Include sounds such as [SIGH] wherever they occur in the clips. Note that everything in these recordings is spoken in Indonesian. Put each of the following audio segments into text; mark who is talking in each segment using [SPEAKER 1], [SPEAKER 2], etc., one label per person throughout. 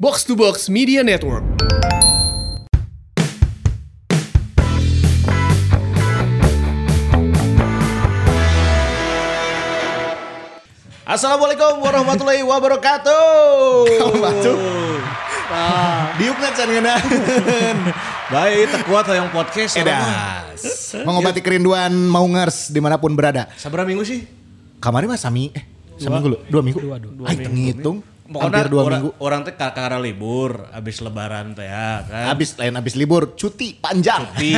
[SPEAKER 1] Box to Box Media Network.
[SPEAKER 2] Assalamualaikum warahmatullahi wabarakatuh.
[SPEAKER 1] Kamu batuk?
[SPEAKER 2] Ah, diukna can ngeunaheun. [LAUGHS] Baik, tekuat yang podcast.
[SPEAKER 3] Eh,
[SPEAKER 1] Edas.
[SPEAKER 3] Mengobati kerinduan maungers dimanapun berada.
[SPEAKER 2] Sabra minggu sih?
[SPEAKER 3] Kemarin mah sami, eh seminggu lu, dua minggu. Dua, ngitung, hampir dua
[SPEAKER 2] orang,
[SPEAKER 3] minggu.
[SPEAKER 2] orang teh ka- karena libur abis lebaran teh ya kan.
[SPEAKER 3] Abis lain abis libur, cuti panjang. [LAUGHS]
[SPEAKER 2] Ti,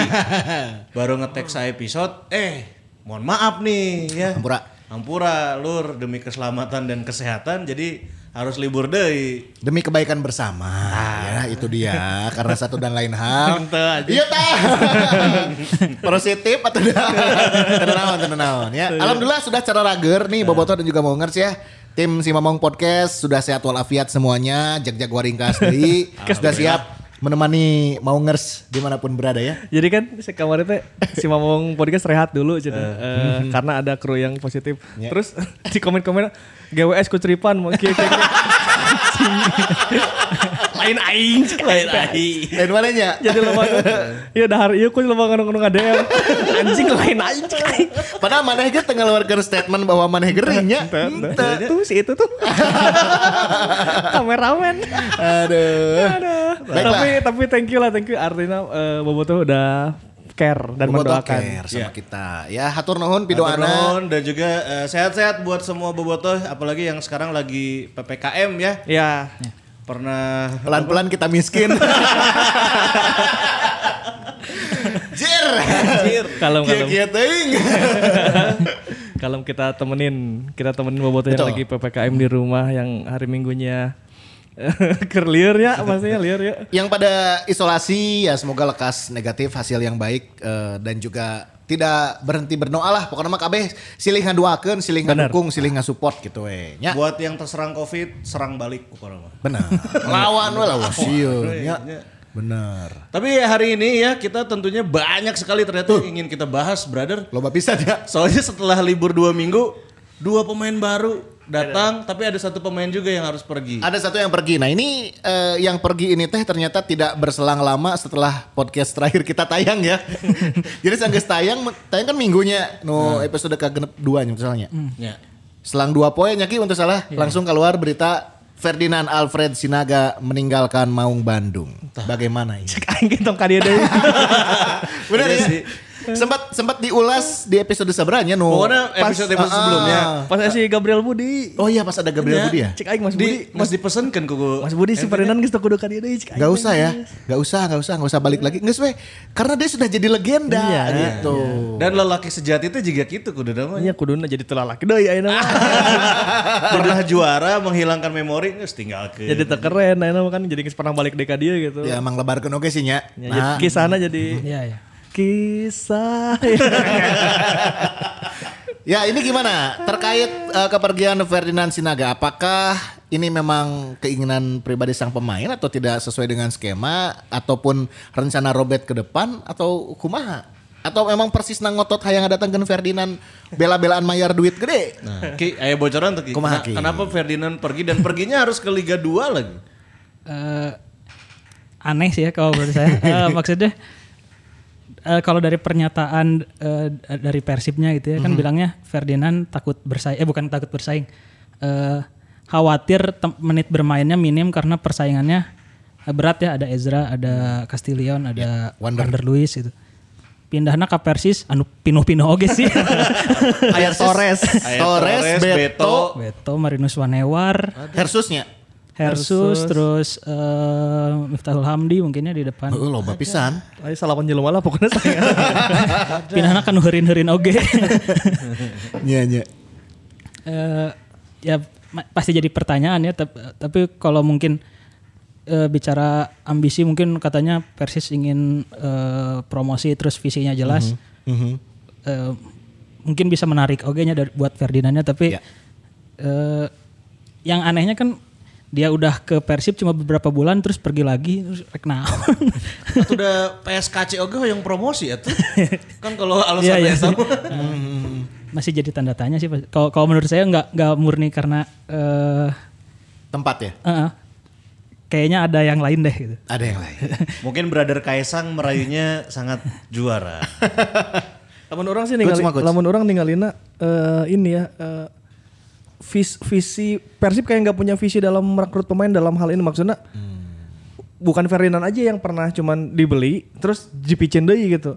[SPEAKER 2] baru ngetek saya episode eh mohon maaf nih ya.
[SPEAKER 3] Ampura.
[SPEAKER 2] Ampura lur demi keselamatan dan kesehatan jadi harus libur deui.
[SPEAKER 3] Demi kebaikan bersama. Ya, itu dia. Karena satu dan lain
[SPEAKER 2] [LAUGHS]
[SPEAKER 3] hal.
[SPEAKER 2] Henteu Ah. aja.
[SPEAKER 3] Iya tah. [LAUGHS] Positif atau tidak? Tenang, tenang ya.
[SPEAKER 2] Iya.
[SPEAKER 3] Alhamdulillah sudah cara rager nih Boboto dan juga Maungers ya. Tim Si Mamong Podcast sudah sehat walafiat semuanya. Jag-jag waringkas
[SPEAKER 2] [LAUGHS]
[SPEAKER 3] deui. sudah siap menemani Maungers dimanapun berada ya.
[SPEAKER 4] Jadi kan si kemarin teh si Mamong podcast rehat dulu cina. Eh, karena ada kru yang positif. Terus [LAUGHS] di komen-komen GWS kucuripan mau kieu- kieu- kieu." Lain aing. cik.
[SPEAKER 2] Lain aing.
[SPEAKER 3] Dan mananya?
[SPEAKER 4] Jadi loba nu- Iya dahar ieu ku loba nganu nganu ngadem. Anjing lain aing. cik.
[SPEAKER 3] Padahal maneh ge teu ngeluarkeun statement bahwa maneh geringnya.
[SPEAKER 4] Tuh, Tuh si itu tuh. [LAUGHS] Kameramen.
[SPEAKER 3] Aduh. Baiklah.
[SPEAKER 4] Tapi tapi thank you lah thank you artinya eh, Bobotoh udah care dan
[SPEAKER 3] Bobotoh
[SPEAKER 4] mendoakan.
[SPEAKER 3] care
[SPEAKER 2] Iya.
[SPEAKER 3] sama kita. Ya hatur nuhun
[SPEAKER 2] Hatur
[SPEAKER 3] pidoana.
[SPEAKER 2] nuhun dan juga eh, sehat-sehat buat semua bobotoh apalagi yang sekarang lagi PPKM ya.
[SPEAKER 4] Ya.
[SPEAKER 2] Pernah
[SPEAKER 3] Pelan-pelan kita miskin. Jir.
[SPEAKER 2] [LAUGHS] Anjir.
[SPEAKER 4] Kalem kalem.
[SPEAKER 3] Kia-kia teuing.
[SPEAKER 4] Kalau kita temenin, kita temenin bobotoh yang
[SPEAKER 3] Betul.
[SPEAKER 4] lagi PPKM di rumah yang hari Minggunya [LAUGHS] kerliur ya, maksudnya liur ya.
[SPEAKER 3] Yang pada isolasi ya semoga lekas negatif hasil yang baik eh, dan juga tidak berhenti berdoa lah pokoknya mah kabeh silih ngaduakeun silih ngadukung silih ngasupport gitu we nya
[SPEAKER 2] [LAUGHS] buat yang terserang Covid serang balik pokoknya mah.
[SPEAKER 3] bener lawan we lawan sieun nya bener
[SPEAKER 2] Tapi hari ini ya kita tentunya banyak sekali ternyata yang ingin kita bahas, brother.
[SPEAKER 3] Loba pisan ya.
[SPEAKER 2] Soalnya setelah libur dua minggu, dua pemain baru datang, tapi ada satu pemain juga yang harus pergi.
[SPEAKER 3] Ada satu yang pergi. Nah ini eh, yang pergi ini teh ternyata tidak berselang lama setelah podcast terakhir kita tayang ya. Jadi sanggeus tayang, tayang kan minggunya. No episode ke genep dua nya misalnya.
[SPEAKER 2] Ya.
[SPEAKER 3] Selang dua poin nyaki untuk salah langsung keluar berita Ferdinand Alfred Sinaga meninggalkan Maung Bandung. Bagaimana ini?
[SPEAKER 4] Aing ge tong ka dia deui.
[SPEAKER 3] Benar
[SPEAKER 2] Iya
[SPEAKER 3] ya?
[SPEAKER 2] sih.
[SPEAKER 3] Sempat sempat diulas di episode seberanya no.
[SPEAKER 2] Pokoknya episode-episode
[SPEAKER 3] Ah, ah.
[SPEAKER 2] sebelumnya.
[SPEAKER 4] Pas si Gabriel Budi.
[SPEAKER 3] Oh iya pas ada Gabriel Budi ya?
[SPEAKER 4] Cek aing
[SPEAKER 2] Di,
[SPEAKER 4] Mas Budi.
[SPEAKER 2] mas dipesankan ku ku-
[SPEAKER 4] Mas Budi si Ferdinand geus teu kudu ka dia deui cek aing.
[SPEAKER 3] Gak usah ya, gak usah, gak usah, gak usah balik lagi. Nggak weh, karena dia sudah jadi legenda
[SPEAKER 4] Iya,
[SPEAKER 3] gitu.
[SPEAKER 2] Dan lelaki sejati itu juga gitu kudu namanya.
[SPEAKER 4] Nya Iya, kuduna jadi telalaki deui ayeuna. mah.
[SPEAKER 2] Pernah juara menghilangkan memori nggak tinggal ke.
[SPEAKER 4] Jadi teu keren ayeuna mah kan jadi geus pernah balik deui ka dia gitu.
[SPEAKER 3] Ya emang lebar oke sih Nah, nya.
[SPEAKER 4] Ya, jadi kisahna jadi Kisah. [LAUGHS]
[SPEAKER 3] Ya ini gimana terkait eh, kepergian Ferdinand Sinaga? Apakah ini memang keinginan pribadi sang pemain atau tidak sesuai dengan skema ataupun rencana Robert ke depan atau kumaha? Atau memang persis nang ngotot hayang datangkan Ferdinand bela-belaan mayar duit gede?
[SPEAKER 2] Nah, Ki, ayo bocoran tuh Ki.
[SPEAKER 3] Kumaha,
[SPEAKER 2] Kena-
[SPEAKER 3] Ki?
[SPEAKER 2] Kenapa Ferdinand pergi dan perginya harus ke Liga 2 lagi?
[SPEAKER 5] eh aneh sih ya kalau menurut saya. Eh, maksudnya eh, kalau dari pernyataan eh, dari persibnya gitu ya kan bilangnya Ferdinand takut bersaing eh bukan takut bersaing. Eh, khawatir tem- menit bermainnya minim karena persaingannya eh, berat ya ada Ezra, ada Castillion, ada
[SPEAKER 3] Wander.
[SPEAKER 5] Wander. Luis itu. Pindahnya ke Persis anu pinuh-pinuh oge sih. [LAUGHS]
[SPEAKER 3] Ayar Torres,
[SPEAKER 2] Ayah
[SPEAKER 3] Torres, Beto,
[SPEAKER 5] Beto, Marinus Wanewar,
[SPEAKER 3] Hersusnya.
[SPEAKER 5] Hersus, terus eh, Miftahul Hamdi mungkinnya di depan.
[SPEAKER 3] Heeh, loba pisan.
[SPEAKER 4] Ayo salapan jelema lah pokoknya saya.
[SPEAKER 5] Pinahna kan herin-herin oge.
[SPEAKER 3] Iya, iya.
[SPEAKER 5] Eh, ya ma- pasti jadi pertanyaan ya tap- tapi kalau mungkin eh, bicara ambisi mungkin katanya Persis ingin eh, promosi terus visinya jelas. Eh, mungkin bisa menarik oge nya dari- buat Ferdinandnya tapi
[SPEAKER 3] Ya.
[SPEAKER 5] eh, yang anehnya kan dia udah ke Persib cuma beberapa bulan terus pergi lagi terus rek naon.
[SPEAKER 2] [LAUGHS] Atau udah PSKC oke yang promosi ya tuh. kan kalau alasan
[SPEAKER 5] Iya, iya. [LAUGHS]
[SPEAKER 2] sama.
[SPEAKER 5] masih jadi tanda tanya sih Pak. kalau kalau menurut saya nggak nggak murni karena eh
[SPEAKER 3] Tempat ya?
[SPEAKER 5] eh, kayaknya ada yang lain deh gitu.
[SPEAKER 3] Ada yang lain.
[SPEAKER 2] Mungkin brother Kaisang merayunya sangat juara.
[SPEAKER 4] Lamun orang sih
[SPEAKER 3] Coach,
[SPEAKER 4] ninggalin,
[SPEAKER 3] sama coach.
[SPEAKER 4] lamun orang ninggalina eh, ini ya eh, vis- visi Persib kayak nggak punya visi dalam merekrut pemain dalam hal ini maksudnya
[SPEAKER 3] Hmm.
[SPEAKER 4] bukan Ferdinand aja yang pernah cuman dibeli terus dipicin deui gitu.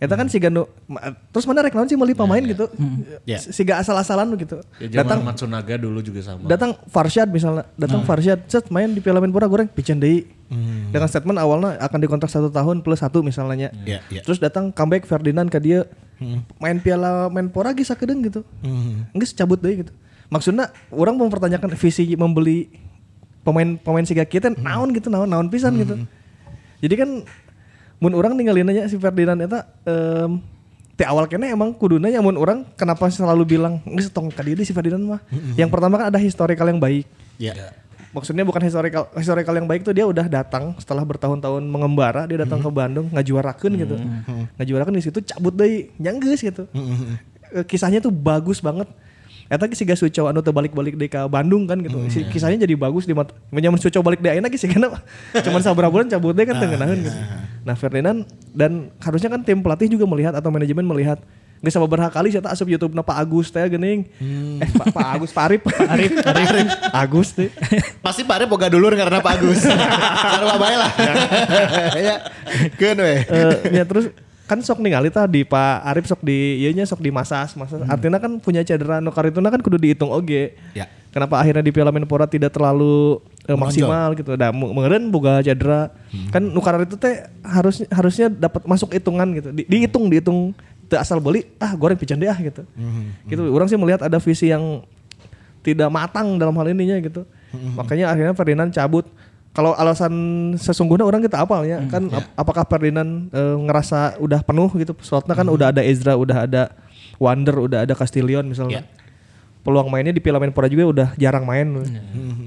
[SPEAKER 4] Eta kan si Gando ma- terus mana rek naon sih beli pemain gitu.
[SPEAKER 3] Hmm. Ya.
[SPEAKER 4] Si si gak asal-asalan gitu.
[SPEAKER 2] Ya,
[SPEAKER 4] datang
[SPEAKER 2] zaman Matsunaga dulu juga sama.
[SPEAKER 4] datang Farsyad misalnya, datang
[SPEAKER 3] Hmm.
[SPEAKER 4] Farsyad set main di Piala Menpora goreng picin deui. Dengan statement awalnya akan dikontrak satu tahun plus satu misalnya.
[SPEAKER 3] Iya, iya.
[SPEAKER 4] Hmm. Terus datang comeback Ferdinand ke dia main Piala Menpora geus sakedeung gitu. Enggak cabut deui gitu. Maksudnya orang mempertanyakan visi membeli pemain-pemain siga kita naon gitu, naon naon pisan gitu. Jadi kan mun orang ninggalin aja si Ferdinand eta em ti awal kene emang kuduna ya mun orang kenapa selalu bilang geus tong ka dieu deui si Ferdinand mah. Yang pertama kan ada historical yang baik.
[SPEAKER 3] Ya.
[SPEAKER 4] Maksudnya bukan historical historical yang baik tuh dia udah datang setelah bertahun-tahun mengembara dia datang ke Bandung ngajuarakeun gitu. Ngajuarakeun di situ cabut deui nyanggeus gitu. Eh, Kisahnya tuh bagus banget. Eta si Gas Suco anu teu balik-balik deui ka Bandung kan gitu. Si- Kisahnya jadi bagus di mata. Menyamun Suco balik deui ayeuna geus [LAUGHS] cenah cuman sabar bulan cabut deui kan teu ngeunaheun gitu. Nah, Ferdinand dan harusnya kan tim pelatih juga melihat atau manajemen melihat Gak sama berapa kali saya tak asup YouTube Pak Agus teh gening. Eh Pak, Pak Agus Pak Arif. Pak Arif, Agus teh.
[SPEAKER 3] Pasti Pak Arif boga dulur karena Pak [LAUGHS] Agus. Karena bae lah. Ya. Keun we.
[SPEAKER 4] Eh, ya terus kan sok ningali tah di Pak Arif sok di ieu nya sok di Masas, Masas. Artinya kan punya cedera nu karituna kan kudu dihitung oge.
[SPEAKER 3] Ya.
[SPEAKER 4] Kenapa akhirnya di Piala Menpora tidak terlalu eh, maksimal gitu. Da mengeren boga cedera. Kan nu itu teh harus harusnya dapat masuk hitungan gitu. Di- dihitung dihitung teu asal beli ah goreng pican deh ah gitu. Gitu orang sih melihat ada visi yang tidak matang dalam hal ininya gitu. Makanya akhirnya Ferdinand cabut. Kalau alasan sesungguhnya orang kita apa ya kan ap- apakah Ferdinand eh, ngerasa udah penuh gitu? Soalnya kan udah ada Ezra, udah ada Wander, udah ada Castillion misalnya. Peluang mainnya di Piala Menpora juga udah jarang main.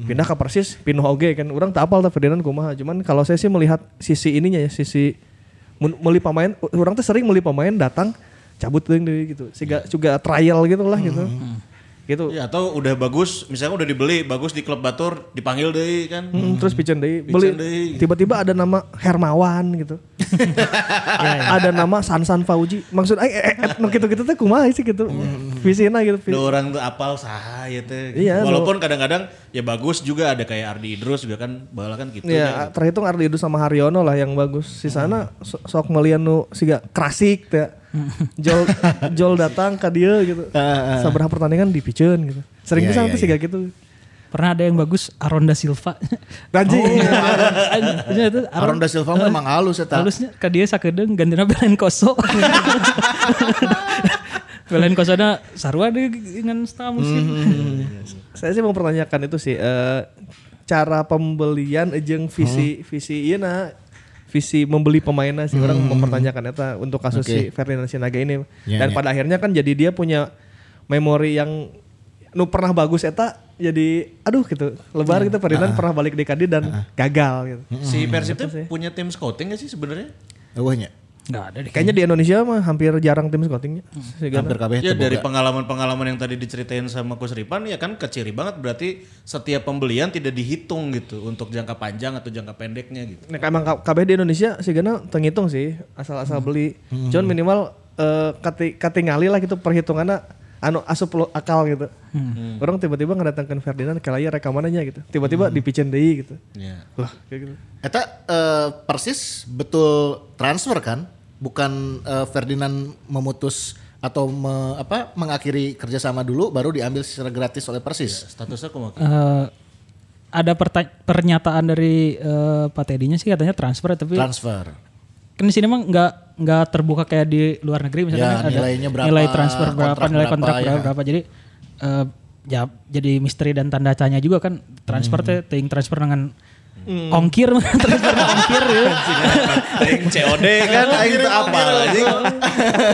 [SPEAKER 4] Pindah ke Persis, pindah oge kan. Orang tak apal tah Ferdinand kumaha. Cuman kalau saya sih melihat sisi ininya ya, sisi mun- meuli pemain orang tuh sering meuli pemain datang cabut deui deui gitu. Siga juga trial gitu lah gitu. Gitu.
[SPEAKER 2] Ya, atau udah bagus, misalnya udah dibeli, bagus di klub Batur, dipanggil deh kan.
[SPEAKER 4] Hmm, terus Pican Day beli
[SPEAKER 2] Day.
[SPEAKER 4] tiba-tiba ada nama Hermawan gitu. A- Ada nama Sansan Fauji. Maksud eh, eh, eh, nu gitu-gitu teh kumaha sih gitu. Visina gitu.
[SPEAKER 2] Ada orang tuh apal saha ya teh.
[SPEAKER 4] Iya,
[SPEAKER 2] Walaupun kadang-kadang ya bagus juga ada kayak Ardi Idrus juga kan, bala kan gitu.
[SPEAKER 3] Iya,
[SPEAKER 4] Ya, terhitung Ardi Idrus sama Haryono lah yang bagus.
[SPEAKER 3] Hmm.
[SPEAKER 4] Sisana so- sok melian nu siga klasik teh. Jol [LAUGHS] Jol datang ke dia gitu. Sabarha pertandingan dipiceun gitu. Sering
[SPEAKER 3] Ah, Iya,
[SPEAKER 4] pisan
[SPEAKER 3] iya,
[SPEAKER 4] tuh siga gitu.
[SPEAKER 5] Pernah ada yang bagus Aronda
[SPEAKER 2] [LAUGHS]
[SPEAKER 5] Silva.
[SPEAKER 4] Danji.
[SPEAKER 5] Anjing, itu Aron-
[SPEAKER 3] Aronda Silva mah emang halus eta.
[SPEAKER 5] halusnya ke dia sakedeung gantina Belen
[SPEAKER 2] [LAUGHS]
[SPEAKER 5] Koso. Belen Kosona sarua deh dengan setengah musim.
[SPEAKER 2] Hmm,
[SPEAKER 4] saya sih mempertanyakan itu sih eh, cara pembelian jeung
[SPEAKER 3] Hmm.
[SPEAKER 4] visi visi ieu na visi membeli pemainnya sih orang mempertanyakan eta untuk kasus si Ferdinand Sinaga ini
[SPEAKER 3] Hmm. Ya,
[SPEAKER 4] dan
[SPEAKER 3] ya.
[SPEAKER 4] pada akhirnya kan jadi dia punya memori yang nu pernah bagus eta jadi aduh gitu lebar
[SPEAKER 3] Ya.
[SPEAKER 4] gitu Ferdinand
[SPEAKER 3] Ah.
[SPEAKER 4] pernah balik DKD dan gagal gitu
[SPEAKER 2] Si Persib tuh punya tim scouting gak sih sebenarnya?
[SPEAKER 3] Eueuhnya.
[SPEAKER 5] Enggak ada
[SPEAKER 3] Nah,
[SPEAKER 5] deh.
[SPEAKER 4] kayaknya di Indonesia mah hampir jarang tim scoutingnya
[SPEAKER 3] Hmm.
[SPEAKER 4] Sigana.
[SPEAKER 3] Hampir kabeh
[SPEAKER 2] Ya
[SPEAKER 3] teu
[SPEAKER 2] dari
[SPEAKER 3] boga.
[SPEAKER 2] pengalaman-pengalaman yang tadi diceritain sama Kus Ripan ya kan keciri banget berarti setiap pembelian tidak dihitung gitu untuk jangka panjang atau jangka pendeknya gitu.
[SPEAKER 4] Nah, emang ka- kabeh di Indonesia sih gana tengitung sih asal-asal
[SPEAKER 3] Hmm.
[SPEAKER 4] beli. Cuman minimal eh, kati katingali lah gitu perhitungannya anu asup lo akal gitu.
[SPEAKER 3] Hmm.
[SPEAKER 4] Orang tiba-tiba ngedatangkan Ferdinand ke layar rekamanannya gitu. Tiba-tiba dipicen deui gitu.
[SPEAKER 2] Ya.
[SPEAKER 4] Lah, kayak gitu.
[SPEAKER 3] Eta eh, persis betul transfer kan? Bukan eh, Ferdinand memutus atau me- apa mengakhiri kerjasama dulu baru diambil secara gratis oleh Persis.
[SPEAKER 2] Statusnya kok makin-
[SPEAKER 5] [LAUGHS] Eh, ada perta- pernyataan dari eh, Pak Tedinya sih katanya transfer ya, tapi
[SPEAKER 3] Transfer.
[SPEAKER 5] kan di sini emang nggak nggak terbuka kayak di luar negeri misalnya
[SPEAKER 3] Ya,
[SPEAKER 5] kan ada
[SPEAKER 3] nilainya berapa,
[SPEAKER 5] nilai transfer berapa
[SPEAKER 3] kontrak
[SPEAKER 5] nilai kontrak
[SPEAKER 3] berapa,
[SPEAKER 5] berapa,
[SPEAKER 3] ya.
[SPEAKER 5] berapa. jadi eh, ya jadi misteri dan tanda tanya juga kan transfer
[SPEAKER 3] Hmm.
[SPEAKER 5] teh ting transfer dengan ongkir [LAUGHS] transfer dengan ongkir ya.
[SPEAKER 2] Aing COD kan aing teu apal anjing.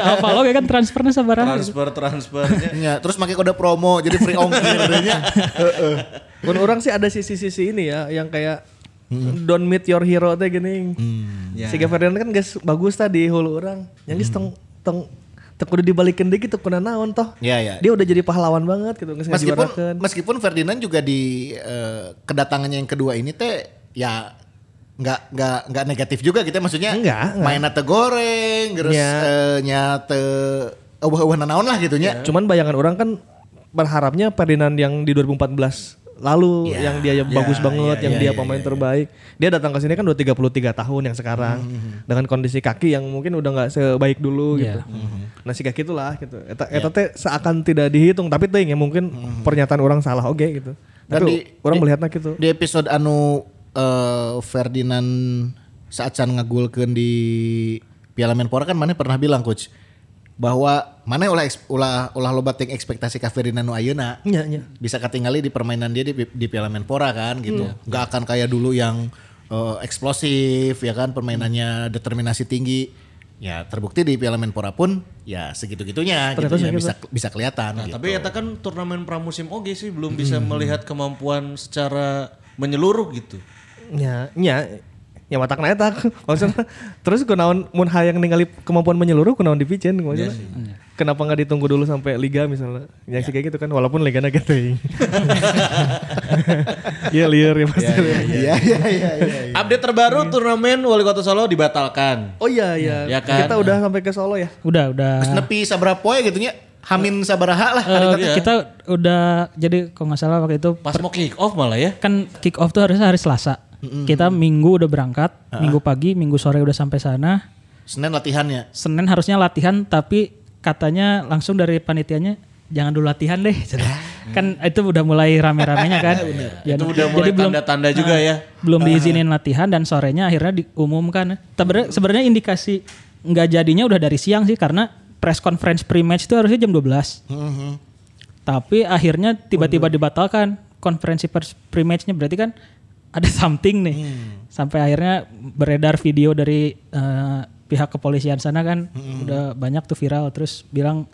[SPEAKER 5] apa lo ya kan transfernya sabaran
[SPEAKER 2] Transfer transfernya
[SPEAKER 3] Ya, terus pakai kode promo jadi free ongkir adanya.
[SPEAKER 4] Mun orang sih ada sisi-sisi ini ya yang kayak
[SPEAKER 3] Hmm.
[SPEAKER 4] don't meet your hero teh gini.
[SPEAKER 3] ya.
[SPEAKER 4] Siga Ferdinand kan guys bagus tadi hulu orang. Yang
[SPEAKER 3] Hmm.
[SPEAKER 4] geus tong tong teu kudu dibalikin deui gitu kuna naon toh.
[SPEAKER 3] Ya, ya.
[SPEAKER 4] Dia udah jadi pahlawan banget gitu geus
[SPEAKER 3] Meskipun
[SPEAKER 4] ngajuarakeun.
[SPEAKER 3] meskipun Ferdinand juga di eh, kedatangannya yang kedua ini teh ya nggak nggak nggak negatif juga gitu ya maksudnya
[SPEAKER 4] Nggak, nggak.
[SPEAKER 3] main teh goreng terus
[SPEAKER 4] Iya.
[SPEAKER 3] eh, nya teh ubah-ubah naon lah gitu nya
[SPEAKER 4] Cuman bayangan orang kan berharapnya Ferdinand yang di 2014 lalu
[SPEAKER 3] Ya,
[SPEAKER 4] yang dia bagus banget, yang dia pemain terbaik. Dia datang ke sini kan udah 33 tahun yang sekarang
[SPEAKER 3] Hmm,
[SPEAKER 4] dengan kondisi kaki yang mungkin udah nggak sebaik dulu gitu.
[SPEAKER 3] Hmm,
[SPEAKER 4] Nah, si kaki itulah gitu. Eta
[SPEAKER 3] Ya.
[SPEAKER 4] eta teh seakan tidak dihitung, tapi teuing ya mungkin pernyataan orang salah oke gitu.
[SPEAKER 3] Hmm, Dan
[SPEAKER 4] Tapi
[SPEAKER 3] di-
[SPEAKER 4] orang
[SPEAKER 3] di-
[SPEAKER 4] melihatnya gitu.
[SPEAKER 3] di episode anu eh, Ferdinand saacan ngagulkeun di Piala Menpora kan mana pernah bilang coach bahwa mana ulah eks- ulah ulah loba ting ekspektasi ka Ferdinand nu ayeuna
[SPEAKER 4] Iya, iya.
[SPEAKER 3] bisa ketinggali di permainan dia di, di Piala Menpora kan gitu. nggak akan kayak dulu yang eh, eksplosif ya kan permainannya determinasi tinggi. Ya terbukti di Piala Menpora pun ya segitu-gitunya gitu ya, bisa bisa kelihatan
[SPEAKER 2] Nah,
[SPEAKER 3] gitu.
[SPEAKER 2] tapi [LAUGHS] eta kan turnamen pramusim oge sih belum bisa melihat kemampuan secara menyeluruh gitu.
[SPEAKER 4] Ya, ya. Ya watak na eta. [LAUGHS] Maksudnya terus kunaon mun hayang ningali kemampuan menyeluruh kunaon dipicen maksudnya. Kenapa nggak ditunggu dulu sampai liga misalnya? Ya, sih kayak gitu kan walaupun liga na gitu. [LAUGHS] Iya liar ya pasti.
[SPEAKER 3] Iya iya iya iya.
[SPEAKER 2] Update terbaru turnamen Wali Kota Solo dibatalkan.
[SPEAKER 4] Oh iya iya.
[SPEAKER 2] Ya kan?
[SPEAKER 4] Kita udah sampai ke Solo ya.
[SPEAKER 5] Udah, udah.
[SPEAKER 3] Terus nepi sabaraha poe gitu nya. Hamin sabaraha lah hari
[SPEAKER 5] Eh,
[SPEAKER 3] tadi.
[SPEAKER 5] kita udah jadi kalau nggak salah waktu itu
[SPEAKER 2] Pas mau kick off malah ya.
[SPEAKER 5] kan kick off tuh harusnya hari Selasa.
[SPEAKER 3] Hmm.
[SPEAKER 5] Kita minggu udah berangkat,
[SPEAKER 3] Ah.
[SPEAKER 5] minggu pagi, minggu sore udah sampai sana.
[SPEAKER 3] Senin latihannya.
[SPEAKER 5] Senin harusnya latihan tapi katanya langsung dari panitianya jangan dulu latihan
[SPEAKER 2] [LAUGHS]
[SPEAKER 5] deh. kan itu udah mulai rame-ramenya kan.
[SPEAKER 2] Nah.
[SPEAKER 5] Jadi-
[SPEAKER 2] Itu udah mulai
[SPEAKER 5] jadi belum Nah.
[SPEAKER 2] tanda-tanda juga ya.
[SPEAKER 5] belum diizinin latihan dan sorenya akhirnya diumumkan. Sebenarnya sebenarnya indikasi nggak jadinya udah dari siang sih karena press conference pre-match itu harusnya jam 12. Tapi akhirnya tiba-tiba dibatalkan konferensi pers pre-matchnya berarti kan ada [LAUGHS] something nih. Sampai akhirnya beredar video dari eh, pihak kepolisian sana kan udah banyak tuh viral terus bilang